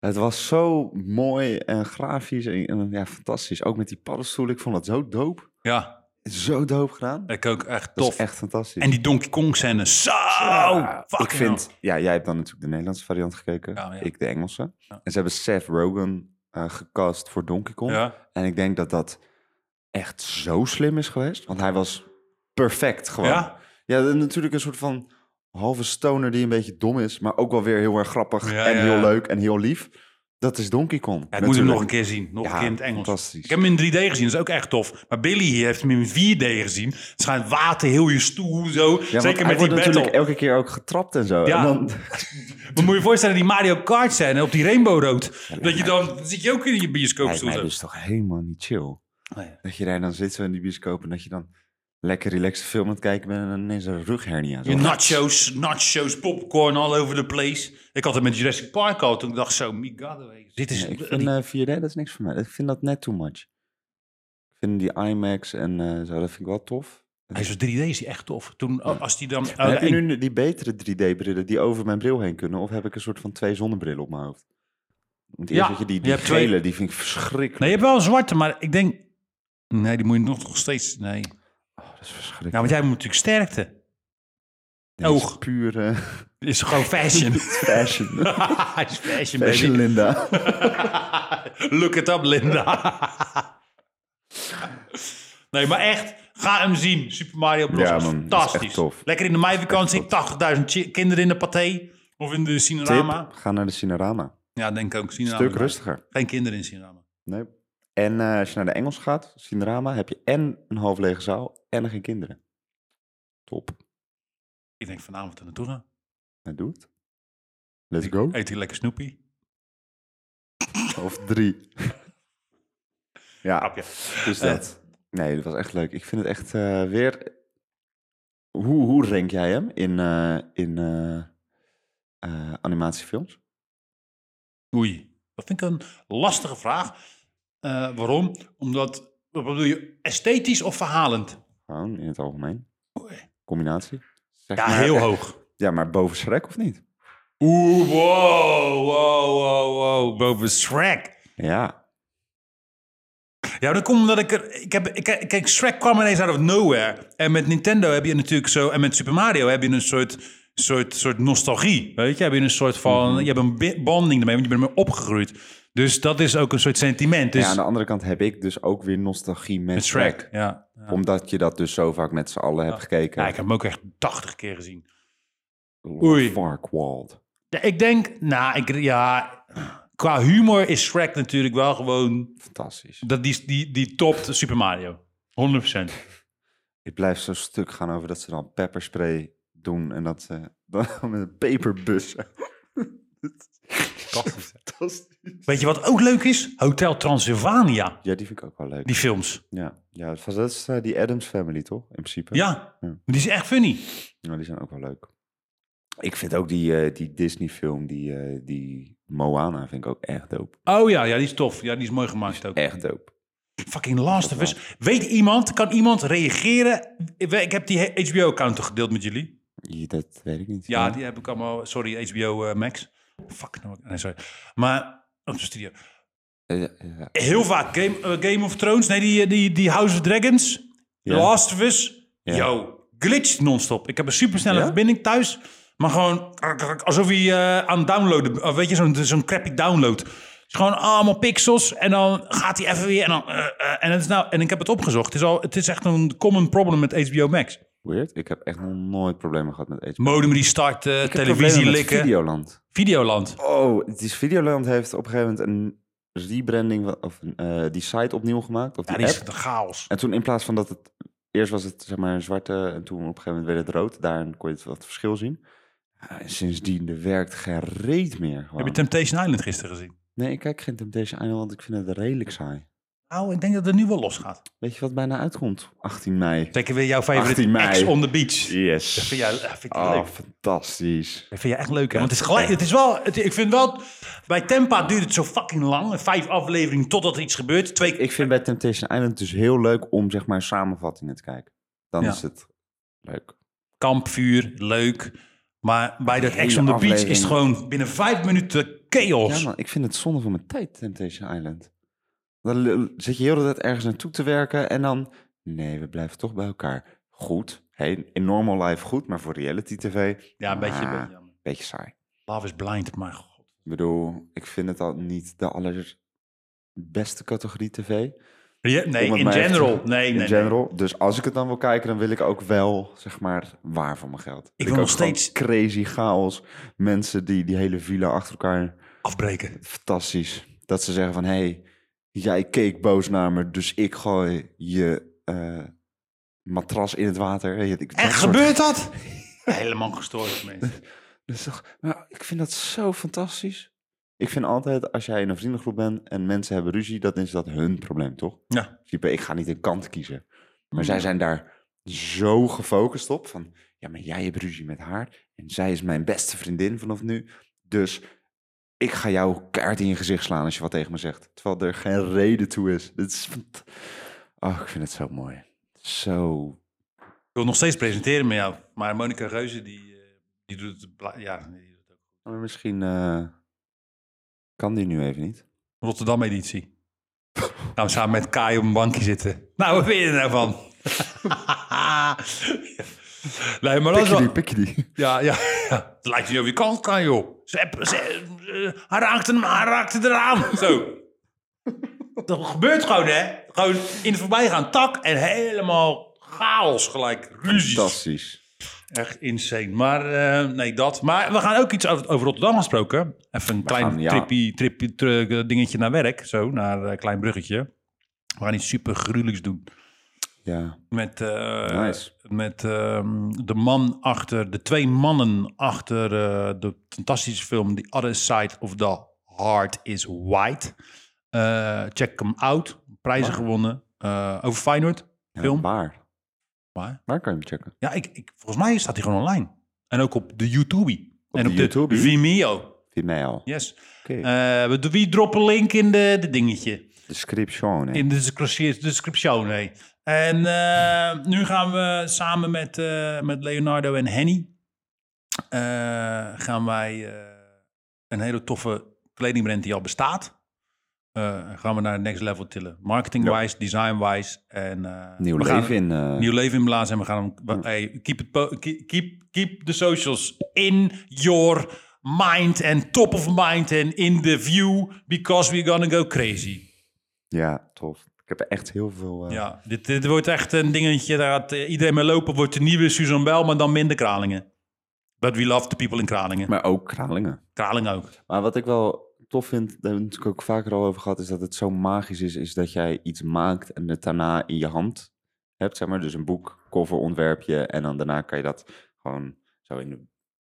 S1: Het was zo mooi en grafisch en, en ja, fantastisch. Ook met die paddenstoel. Ik vond dat zo doop.
S2: Ja,
S1: Zo doop gedaan.
S2: ik ook echt
S1: Dat
S2: tof.
S1: is echt fantastisch.
S2: En die Donkey Kong scène, zo,
S1: Ja,
S2: Oh, fucking Oh,
S1: ik vind, ja, jij hebt dan natuurlijk de Nederlandse variant gekeken,
S2: Ja, ja.
S1: ik de Engelse.
S2: Ja.
S1: En ze hebben Seth Rogen eh, gecast voor Donkey Kong.
S2: hell. Ja,
S1: En ik denk dat dat echt zo slim is geweest, want hij was perfect gewoon.
S2: Ja?
S1: Ja, dat is natuurlijk een soort van halve stoner die een beetje dom is, maar ook wel weer heel erg grappig
S2: Ja,
S1: en
S2: ja,
S1: heel
S2: ja.
S1: leuk en heel lief. Dat is Donkey Kong.
S2: Ja, ik moet hem nog een
S1: natuurlijk.
S2: keer zien, nog een
S1: Ja,
S2: keer in het Engels.
S1: fantastisch.
S2: Ik heb hem in 3D gezien, dat is ook echt tof. Maar Billy hier heeft hem in 4D gezien. Het schijnt water heel je stoel, zo.
S1: Ja, want
S2: Zeker met
S1: hij
S2: die
S1: wordt
S2: battle.
S1: natuurlijk elke keer ook getrapt en zo.
S2: Ja.
S1: En dan,
S2: Maar moet je je voorstellen, die Mario Kart scène op die Rainbow Road. dat je dan, zit je ook in je
S1: lijkt
S2: bioscoopstoel.
S1: mij
S2: zo.
S1: dus toch helemaal niet chill.
S2: Nee.
S1: Dat je daar dan zit zo in die bioscoop en dat je dan lekker relaxed film aan het kijken bent en dan ineens een rughernia. Zo.
S2: Je nachos, nachos, popcorn all over the place. Ik had het met Jurassic Park al, toen ik dacht zo, my god. Dit is...
S1: Nee, ik vind
S2: die-
S1: eh 4D, dat is niks voor mij. Ik vind dat net too much. Ik vind die IMAX en eh, zo, dat vind ik wel tof.
S2: Hij is 3D is die echt tof. Toen, oh, als die dan...
S1: Maar
S2: oh,
S1: heb je
S2: ik-
S1: nu die betere 3D-brillen die over mijn bril heen kunnen? Of heb ik een soort van twee zonnebrillen op mijn hoofd? Want eerst
S2: Ja,
S1: had je die,
S2: je
S1: die
S2: hebt
S1: gele,
S2: twee-
S1: die vind ik verschrikkelijk.
S2: Nee, je hebt wel een zwarte, maar ik denk... Nee, die moet je nog, nog steeds... Nee.
S1: Oh, dat is
S2: Ja,
S1: verschrikkelijk.
S2: want jij moet natuurlijk sterkte.
S1: Dit is
S2: oog.
S1: Puur eh,
S2: Is gewoon fashion.
S1: fashion.
S2: Hij is fashion,
S1: fashion,
S2: baby.
S1: Linda.
S2: Look it up, Linda. nee, maar echt, ga hem zien. Super Mario Bros.
S1: Ja,
S2: is
S1: man, is
S2: fantastisch.
S1: echt tof.
S2: Lekker in de meivakantie, 80.000 chi- kinderen in de paté. Of in de Cinerama.
S1: Tip, ga naar de Cinerama.
S2: Ja, denk ik ook. Cinerama.
S1: Stuk rustiger.
S2: Geen kinderen in Cinerama.
S1: Nee. En eh, als je naar de Engels gaat, Cinerama, heb je en een half lege zaal en geen kinderen. Top.
S2: Ik denk vanavond er naartoe gaan.
S1: En doe het. Let's go.
S2: Eet hier lekker snoepie.
S1: Of drie. ja,
S2: Grapje. Eh.
S1: dus dat. Nee, dat was echt leuk. Ik vind het echt eh, weer... Hoe, hoe rank jij hem in, eh, in eh, eh, animatiefilms?
S2: Oei, dat vind ik een lastige vraag. Eh, waarom? Omdat, wat bedoel je, esthetisch of verhalend?
S1: Gewoon in het algemeen.
S2: Oei.
S1: Combinatie. Zeg
S2: Ja,
S1: maar-
S2: heel hoog.
S1: Ja, maar boven Shrek of niet?
S2: Oeh, wow, wow, wow, wow, boven Shrek.
S1: Ja.
S2: Ja, dat komt omdat ik er... Ik heb, ik, kijk, Shrek kwam ineens out of nowhere. En met Nintendo heb je natuurlijk zo... En met Super Mario heb je een soort,
S1: Mhm.
S2: soort, soort nostalgie, weet je? Heb je een soort van... Je hebt een bi- bonding ermee, want je bent ermee opgegroeid. Dus dat is ook een soort sentiment. Dus
S1: ja, aan de andere kant heb ik dus ook weer nostalgie met,
S2: met
S1: Shrek.
S2: Shrek. Ja. Ja.
S1: Omdat je dat dus zo vaak met z'n allen hebt gekeken.
S2: Ja, ik heb hem ook echt 80 keer gezien.
S1: Lord
S2: Oei.
S1: Farquaad.
S2: Ja, ik denk, nou, ik, ja, qua humor is Shrek natuurlijk wel gewoon...
S1: Fantastisch.
S2: Dat die, die, die topt Super Mario. 100%.
S1: Ik blijf zo stuk gaan over dat ze dan pepperspray doen en dat ze dan met een peperbussen. Fantastisch.
S2: Weet je wat ook leuk is? Hotel Transylvania.
S1: Ja, die vind ik ook wel leuk.
S2: Die films.
S1: Ja, ja dat is eh, die Adams Family toch, in principe?
S2: Ja.
S1: Ja.
S2: Maar Die is echt funny.
S1: Ja, die zijn ook wel leuk. Ik vind ook die, eh, die Disney-film, die, eh, die Moana, vind ik ook echt dope.
S2: Oh ja, ja, die is tof. Ja, die is mooi gemaakt ook.
S1: Echt dope.
S2: Fucking Last of Us. Weet iemand, kan iemand reageren? Ik ik heb die HBO-account gedeeld met jullie.
S1: Je- Dat weet ik niet.
S2: Ja, die heb ik allemaal. Sorry, HBO eh, Max. Fuck, nou, nee, sorry. Maar, oh, op de studio.
S1: Eh, eh, ja.
S2: Heel vaak Game, eh, Game of Thrones, nee, die, eh, die, die House of Dragons, The
S1: Ja.
S2: Last of Us.
S1: Ja.
S2: Yo, glitcht non-stop. Ik heb een supersnelle
S1: Ja?
S2: verbinding thuis, maar gewoon krk, krk, alsof je eh, aan het downloaden, eh, weet je, zo'n zo'n crappy download. Het is gewoon allemaal pixels en dan gaat hij even weer en dan... eh, eh, en, het is nou, en ik heb het opgezocht. Het is, al, het is echt een common problem met HBO Max.
S1: Weird. Ik heb echt nog nooit problemen gehad met HBO.
S2: Modem restarten, televisie
S1: Problemen met
S2: likken.
S1: Videoland.
S2: Videoland.
S1: Oh, het is Videoland heeft op een gegeven moment een rebranding van- of een, eh, die site opnieuw gemaakt. Of
S2: Ja,
S1: die
S2: die
S1: app. Oh.
S2: is de chaos.
S1: En toen in plaats van dat het... Eerst was het zeg maar zwarte en toen op een gegeven moment werd het rood. Daarin kon je het wat verschil zien. Ja, en sindsdien er werkt geen reet meer. gewoon.
S2: Heb je Temptation Island gisteren gezien?
S1: Nee, ik kijk geen Temptation Island, want ik vind het redelijk saai.
S2: Nou, ik denk dat het nu wel los gaat.
S1: Weet je wat bijna uitkomt? 18 mei.
S2: Zeker weer jouw favorite
S1: 18 mei.
S2: Ex on the Beach.
S1: Yes.
S2: Dat vind jij, dat vind ik
S1: Oh,
S2: leuk.
S1: fantastisch.
S2: Dat vind jij echt leuk, hè? Want het is gelijk, het is wel, het- ik vind wel, bij Tempa duurt het zo fucking lang. Vijf afleveringen totdat er iets gebeurt. Twee,
S1: Ik vind bij Temptation Island dus heel leuk om zeg maar samenvattingen te kijken. Dan
S2: Ja.
S1: is het leuk.
S2: kampvuur, leuk. Maar bij dat Ex
S1: Hele
S2: on the Beach
S1: aflevering.
S2: is het gewoon binnen vijf minuten chaos.
S1: Ja man, ik vind het zonde van mijn tijd, Temptation Island. Dan l- zit je heel de tijd ergens naartoe te werken en dan... Nee, we blijven toch bij elkaar. Goed. Hey, in normal life goed, maar voor reality tv...
S2: Ja, een beetje,
S1: ah,
S2: een beetje jammer.
S1: beetje saai.
S2: Love is blind, maar god.
S1: Ik bedoel, ik vind het al niet de allerbeste categorie tv.
S2: Ja, nee,
S1: Om het
S2: in
S1: maar even te-
S2: general. Nee,
S1: in
S2: nee, nee.
S1: general. Dus als ik het dan wil kijken, dan wil ik ook wel, zeg maar, waar voor mijn geld.
S2: wil
S1: ook
S2: nog
S1: gewoon
S2: steeds-
S1: Crazy chaos. Mensen die die hele villa achter elkaar...
S2: Afbreken.
S1: Fantastisch. Dat ze zeggen van, hé, hey, jij keek boos naar me, dus ik gooi je eh, matras in het water. Weet je, ik- dat
S2: Echt
S1: soort-
S2: gebeurt dat? Helemaal gestoord, mensen.
S1: Dat is toch- maar ik vind dat zo fantastisch. Ik vind altijd, als jij in een vriendengroep bent en mensen hebben ruzie, dan is dat hun probleem, toch?
S2: Ja.
S1: In principe, ik ga niet een kant kiezen. Maar
S2: Hmm.
S1: zij zijn daar zo gefocust op. Van, ja, maar jij hebt ruzie met haar. En zij is mijn beste vriendin vanaf nu. Dus ik ga jou kaart in je gezicht slaan als je wat tegen me zegt. Terwijl er geen reden toe is. Dit is fant- oh, ik vind het zo mooi. Zo...
S2: Ik wil nog steeds presenteren met jou. Maar Monica Reuze, die, eh, die doet het... bla- Ja, die doet het ook.
S1: Maar misschien eh, kan die nu even niet.
S2: Rotterdam-editie. Nou, samen met Kai op een bankje zitten. Nou, wat vind je er nou van? nee, maar dat is
S1: Pikkie die, pikkie
S2: wel...
S1: die.
S2: Ja, ja, ja. Het lijkt niet of je kant kan, joh. Ze, heb- ze, eh, hij raakte hem, hij raakte eraan. Zo. Dat gebeurt gewoon, hè? Gewoon in het voorbijgaan. Tak en helemaal chaos gelijk. Ruzies.
S1: Fantastisch.
S2: Echt insane. Maar eh, nee, dat. Maar we gaan ook iets over, over Rotterdam gesproken. Even een klein
S1: gaan, ja.
S2: trippie, trippie, tru- eh, dingetje naar werk. Zo, naar een klein bruggetje. We gaan iets super gruwelijks doen.
S1: Ja,
S2: Met, eh,
S1: Nice.
S2: met ehm, de man achter, de twee mannen achter eh, de fantastische film The Other Side of the Heart is White. Eh, check hem out. Prijzen gewonnen. Eh, over Feyenoord.
S1: Ja,
S2: Film.
S1: waar?
S2: Waar?
S1: Waar kan je hem checken?
S2: Ja, ik, ik, volgens mij staat hij gewoon online. En ook op de YouTube. en
S1: de
S2: op
S1: YouTube?
S2: de Vimeo.
S1: Vind mij al.
S2: Yes.
S1: Oké.
S2: Eh, we, we droppen link in de, de dingetje.
S1: Description. hè.
S2: In de descriptie- description, nee. En eh, nu gaan we samen met, eh, met Leonardo en Henny... eh, gaan wij eh, een hele toffe kledingbrand die al bestaat... eh, gaan we naar het next level tillen. Marketing-wise, design-wise. En, eh,
S1: Nieuw
S2: we gaan-
S1: leven in... eh,
S2: Nieuw leven inblazen en we gaan hem... we- hey, keep, it po- keep, keep, keep the socials in your mind en top of mind en in the view because we're gonna go crazy.
S1: Ja, tof. Ik heb echt heel veel... eh,
S2: Ja, dit, dit wordt echt een dingetje. Daar gaat eh, iedereen mee lopen. Wordt de nieuwe Susan Bell, maar dan minder Kralingen. But we love the people in Kralingen.
S1: Maar ook Kralingen.
S2: Kralingen ook.
S1: Maar wat ik wel tof vind, daar hebben we het natuurlijk ook vaker al over gehad, is dat het zo magisch is, is dat jij iets maakt en het daarna in je hand hebt, zeg maar. Dus een boek, cover ontwerp je en dan daarna kan je dat gewoon zo in de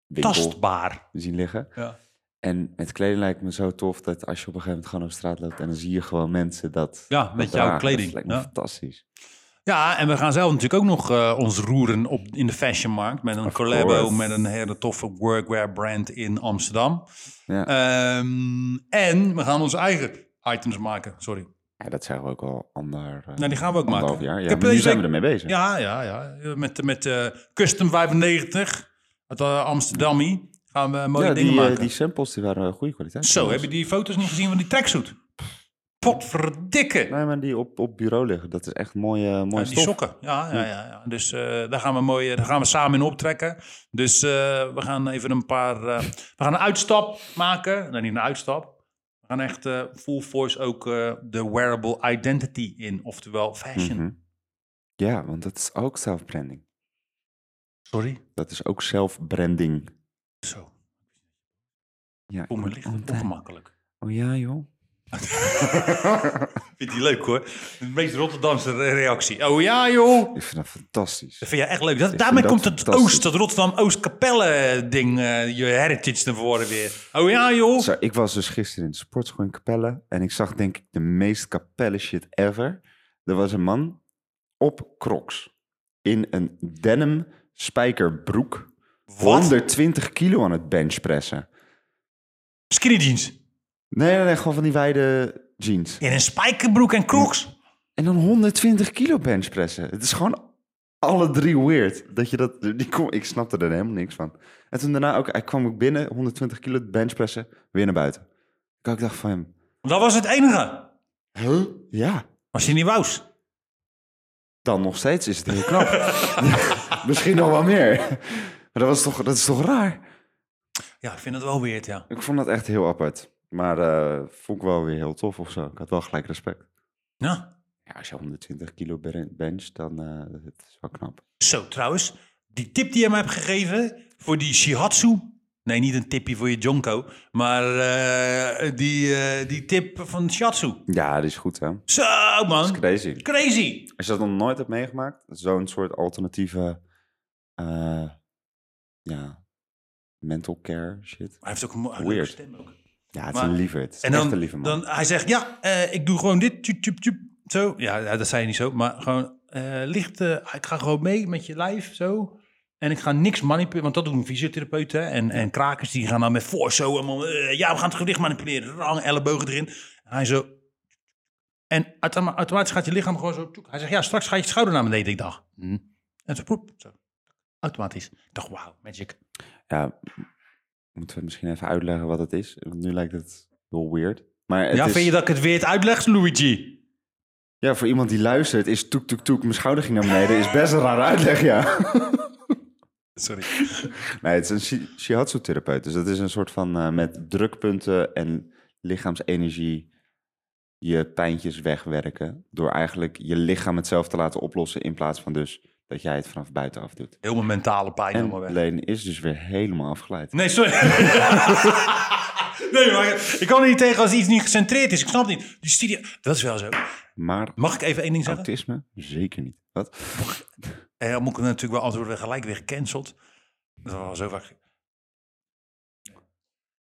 S1: winkel
S2: Tastbaar.
S1: zien liggen.
S2: Ja.
S1: En met kleding lijkt me zo tof dat als je op een gegeven moment gewoon op straat loopt en dan zie je gewoon mensen dat...
S2: Ja, met
S1: dat
S2: jouw
S1: dragen.
S2: kleding,
S1: Dat lijkt me
S2: ja.
S1: fantastisch.
S2: Ja, en we gaan zelf natuurlijk ook nog eh, ons roeren op, in de fashionmarkt. Met een
S1: Of
S2: collabo
S1: course.
S2: met een hele toffe workwear brand in Amsterdam.
S1: Ja.
S2: Ehm, en we gaan onze eigen items maken. Sorry.
S1: Ja, dat zijn we ook al ander, eh,
S2: Nou, die gaan we ook
S1: anderhalf
S2: maken.
S1: jaar.
S2: Ik
S1: Ja,
S2: heb
S1: maar nu
S2: deze
S1: zijn we
S2: week-
S1: ermee bezig.
S2: Ja, ja, ja. Met, met eh, Custom 95 uit eh, Amsterdammy gaan we mooie
S1: Ja,
S2: dingen
S1: die, eh,
S2: maken.
S1: die samples die waren eh, goede kwaliteit.
S2: Zo, heb je die foto's niet gezien van die tracksuit? Potverdikke.
S1: Nee, maar die op, op bureau liggen, dat is echt mooie, mooie
S2: Ja, die
S1: stof. Hmm.
S2: sokken, ja, ja, ja. ja. Dus eh, daar, gaan we mooi, daar gaan we samen in optrekken. Dus eh, we gaan even een paar... eh, we gaan een uitstap maken. Nee, niet een uitstap. We gaan echt eh, full force ook eh, de wearable identity in. Oftewel fashion.
S1: Mhm. Ja, want dat is ook zelfbranding.
S2: Sorry.
S1: Dat is ook zelfbranding.
S2: Zo.
S1: Ja,
S2: Voor mijn licht
S1: oh,
S2: ongemakkelijk.
S1: oh ja, joh.
S2: Vind je leuk hoor. De meest Rotterdamse re- reactie. Oh ja joh.
S1: Ik vind dat fantastisch.
S2: Dat vind jij echt leuk. Dat,
S1: Ik
S2: daarmee
S1: vind
S2: komt
S1: dat
S2: het
S1: fantastisch.
S2: Oost, dat Rotterdam-Oost-Capelle-ding, eh, je heritage naar voren weer. Oh ja joh.
S1: Zo, ik was dus gisteren in de sportschool in Capelle en ik zag denk ik de meest Capelle shit ever. Er was een man op crocs in een denim spijkerbroek.
S2: Wat?
S1: 120 kilo aan het benchpressen.
S2: Skinny jeans.
S1: Nee, nee, nee, gewoon van die wijde jeans.
S2: In een spijkerbroek en crocs.
S1: En dan 120 kilo benchpressen. Het is gewoon alle drie weird. Dat je dat, die kom, ik snapte er helemaal niks van. En toen daarna ook, hij kwam ook binnen, 120 kilo benchpressen, weer naar buiten. Ik ook dacht van hem,
S2: Dat was het enige.
S1: huh? Ja,
S2: Was je niet wous?
S1: dan nog steeds is het heel knap. Ja, Misschien nog wel meer. Maar dat, was toch, dat is toch raar?
S2: Ja, ik vind het wel weird, ja.
S1: Ik vond dat echt heel apart. Maar eh, vond ik wel weer heel tof of zo. Ik had wel gelijk respect.
S2: ja.
S1: Ja, als je 120 kilo ben- bench, dan eh het is wel knap.
S2: Zo, trouwens. Die tip die je me hebt gegeven voor die shihatsu. Nee, niet een tipje voor je jonko. Maar eh, die, eh, die tip van shihatsu.
S1: Ja, dat is goed hè. Dat
S2: Zo,
S1: is
S2: man.
S1: crazy.
S2: Crazy.
S1: Als je dat nog nooit hebt meegemaakt, zo'n soort alternatieve, eh, ja, mental care shit.
S2: Hij heeft ook een mo- een leuke
S1: Weird.
S2: stem ook.
S1: Ja, het
S2: Maar-
S1: is een lieverd. Het is
S2: En
S1: echt een
S2: dan,
S1: lieve man.
S2: dan hij zegt, ja, eh, ik doe gewoon dit, tjup, tjup, tjup, zo. Ja, ja, dat zei je niet zo, maar gewoon eh, licht, eh, ik ga gewoon mee met je lijf, zo. En ik ga niks manipuleren, want dat doen fysiotherapeuten en, en krakers, die gaan dan met voor zo. allemaal, eh, ja, we gaan het gewicht manipuleren, rang, ellebogen erin. En hij zo. En automa- automatisch gaat je lichaam gewoon zo. tjoek. Hij zegt, ja, straks ga je je schouder naar beneden. Ik dacht, hm. En zo, poep, zo. Automatisch. Ik dacht, wauw, magic.
S1: Ja, moeten we misschien even uitleggen wat het is? Want nu lijkt het heel weird. Maar het
S2: ja,
S1: is,
S2: vind je dat ik het weer het uitleg, Luigi?
S1: ja, voor iemand die luistert is toek toek toek, mijn schouder ging naar beneden, is best een raar uitleg, ja.
S2: Sorry.
S1: Nee, het is een shi- shiatsu-therapeut. Dus dat is een soort van eh, met drukpunten en lichaamsenergie je pijntjes wegwerken. Door eigenlijk je lichaam het zelf te laten oplossen in plaats van dus dat jij het vanaf buitenaf doet.
S2: Heel mijn mentale pijn
S1: En
S2: allemaal weg.
S1: Leen is dus weer helemaal afgeleid.
S2: Nee, sorry. nee, maar ik kan er niet tegen als iets niet gecentreerd is. Ik snap het niet. Die studio, dat is wel zo.
S1: Maar
S2: Mag ik even één ding zeggen?
S1: autisme? Zeker niet. Wat?
S2: Eh, dan moet ik natuurlijk wel antwoorden weer gelijk weer gecanceld. Dat was al zo vaak.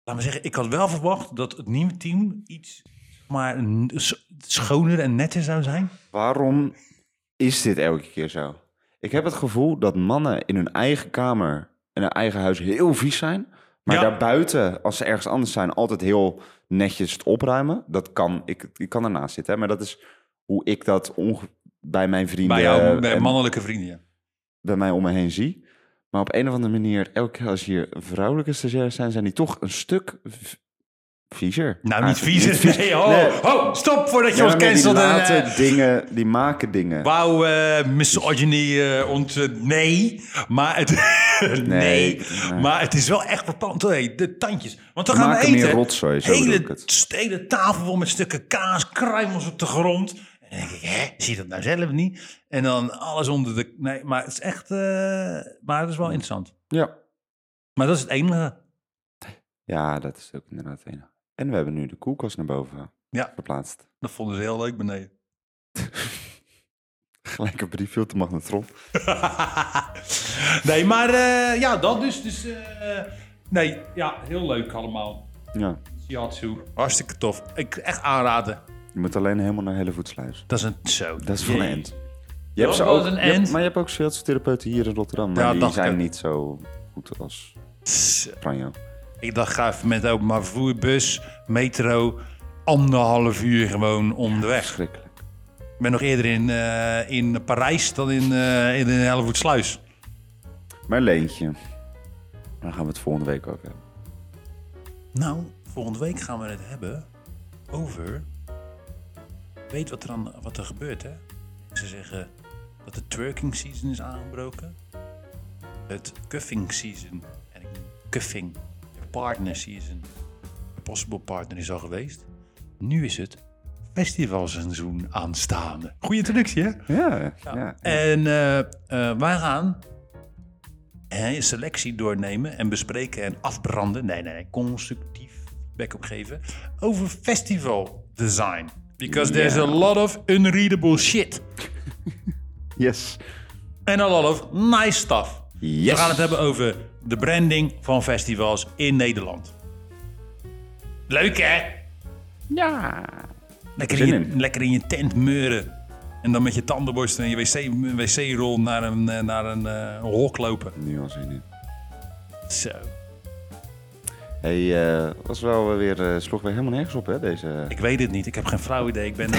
S2: Laat me zeggen, ik had wel verwacht dat het nieuwe team iets zeg maar n- s- schoner en netter zou zijn.
S1: Waarom is dit elke keer zo? Ik heb het gevoel dat mannen in hun eigen kamer en hun eigen huis heel vies zijn. Maar
S2: Ja.
S1: daarbuiten, als ze ergens anders zijn, altijd heel netjes het opruimen. Dat kan, ik, ik kan ernaast zitten. hè, Maar dat is hoe ik dat onge- bij mijn vrienden eh,
S2: Bij jouw
S1: en
S2: mannelijke vrienden. ja.
S1: bij mij om me heen zie. Maar op een of andere manier, elke keer als hier vrouwelijke stagiairs zijn, zijn die toch een stuk v- viezer.
S2: Nou, niet
S1: Eigenlijk
S2: vies. Nee, oh,
S1: Ah, Nee.
S2: oh, stop voordat je
S1: Ja,
S2: ons
S1: maar die
S2: cancelt. en,
S1: laten
S2: eh,
S1: dingen, die maken dingen.
S2: Wauw, eh misogyny eh ont... eh, nee, maar het... nee,
S1: nee.
S2: maar het is wel echt verpand. Hey, de tandjes. Want we
S1: We
S2: gaan
S1: maken
S2: eten.
S1: meer rotzooi, zo bedoel ik
S2: hele,
S1: het.
S2: st- hele tafel vol met stukken kaas, kruimels op de grond. En dan denk ik, hè, zie je dat nou zelf niet? En dan alles onder de... Nee, maar het is echt... eh, maar het is wel interessant.
S1: Ja.
S2: Maar dat is het enige.
S1: ja, dat is ook inderdaad het enige. En we hebben nu de koelkast naar boven
S2: Ja.
S1: verplaatst.
S2: Dat vonden ze heel leuk beneden.
S1: Gelijk een briefje op de magnetron.
S2: nee, maar eh, ja, dat dus. dus eh, nee, ja, heel leuk allemaal.
S1: Ja.
S2: Shiatsu. Hartstikke tof. Ik echt aanraden.
S1: Je moet alleen helemaal naar hele voetsluis.
S2: Dat is een zo.
S1: Dat is van een
S2: Jee.
S1: end. Je hebt
S2: Dat
S1: ze
S2: was
S1: ook,
S2: een
S1: je hebt-
S2: end.
S1: maar je hebt ook shiatsu-therapeuten hier in Rotterdam. Maar
S2: Ja,
S1: die
S2: dacht ik
S1: zijn
S2: ook.
S1: niet zo goed als
S2: Tss.
S1: Franjo.
S2: Ik dacht, ga even met openbaar vervoer, bus, metro, anderhalf uur gewoon om de weg.
S1: Schrikkelijk.
S2: Ik ben nog eerder in, eh, in Parijs dan in, eh in de Hellevoetsluis.
S1: Maar Leentje, daar gaan we het volgende week ook hebben.
S2: Nou, volgende week gaan we het hebben over. Weet wat er, aan, wat er gebeurt, hè? Ze zeggen dat de twerking season is aangebroken. Het cuffing season. En ik noem cuffing. De partner season. De possible partner is al geweest. Nu is het festivalseizoen aanstaande. Goeie introductie, hè?
S1: Ja, ja.
S2: En eh, eh, wij gaan hè, een selectie doornemen en bespreken en afbranden. Nee, nee, nee, constructief feedback opgeven. Over festival design. Because there's a lot of unreadable shit.
S1: Yes.
S2: En a lot of nice stuff.
S1: Yes.
S2: We gaan het hebben over de branding van festivals in Nederland. Leuk hè?
S1: Ja.
S2: Lekker in,
S1: Zin
S2: je,
S1: in.
S2: lekker in je tent meuren. En dan met je tandenborstel en je wc-rol wc rol naar een, eh, naar een eh, hok lopen.
S1: Nu al zin in.
S2: Zo.
S1: Hey, eh, was wel eh, weer, eh, sloeg weer helemaal nergens op, hè, deze...
S2: Ik weet het niet. Ik heb geen flauw idee. Ik ben,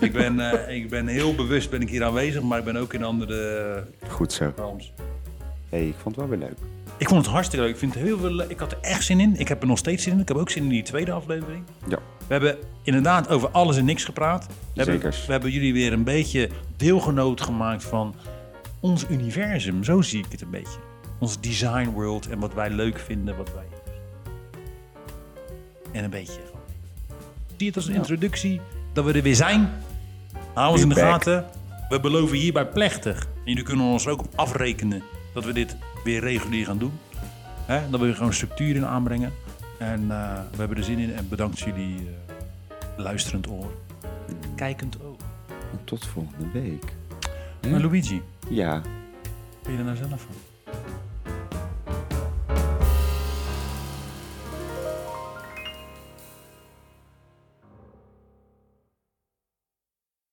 S2: ik ben, eh, ik ben heel bewust ben ik hier aanwezig, maar ik ben ook in andere
S1: Goed zo.
S2: realms.
S1: Hey, ik vond het wel weer leuk.
S2: Ik vond het hartstikke leuk. Ik, vind het heel veel, le- ik had er echt zin in. Ik heb er nog steeds zin in. Ik heb ook zin in die tweede aflevering.
S1: Ja.
S2: We hebben inderdaad over alles en niks gepraat. We hebben,
S1: Zekers.
S2: we hebben jullie weer een beetje deelgenoot gemaakt van ons universum. Zo zie ik het een beetje. Ons design world en wat wij leuk vinden, wat wij. En een beetje. van- Zie het als een introductie dat we er weer zijn. Hou ons in de
S1: Weer back.
S2: gaten. We beloven hierbij plechtig. En jullie kunnen ons er ook op afrekenen dat we dit weer regulier gaan doen. Hè, dat we er gewoon structuur in aanbrengen. En eh, we hebben er zin in. En bedankt jullie eh, luisterend oor. Kijkend oog.
S1: En tot volgende week.
S2: Maar Luigi,
S1: Ja.
S2: ben je er nou zelf van?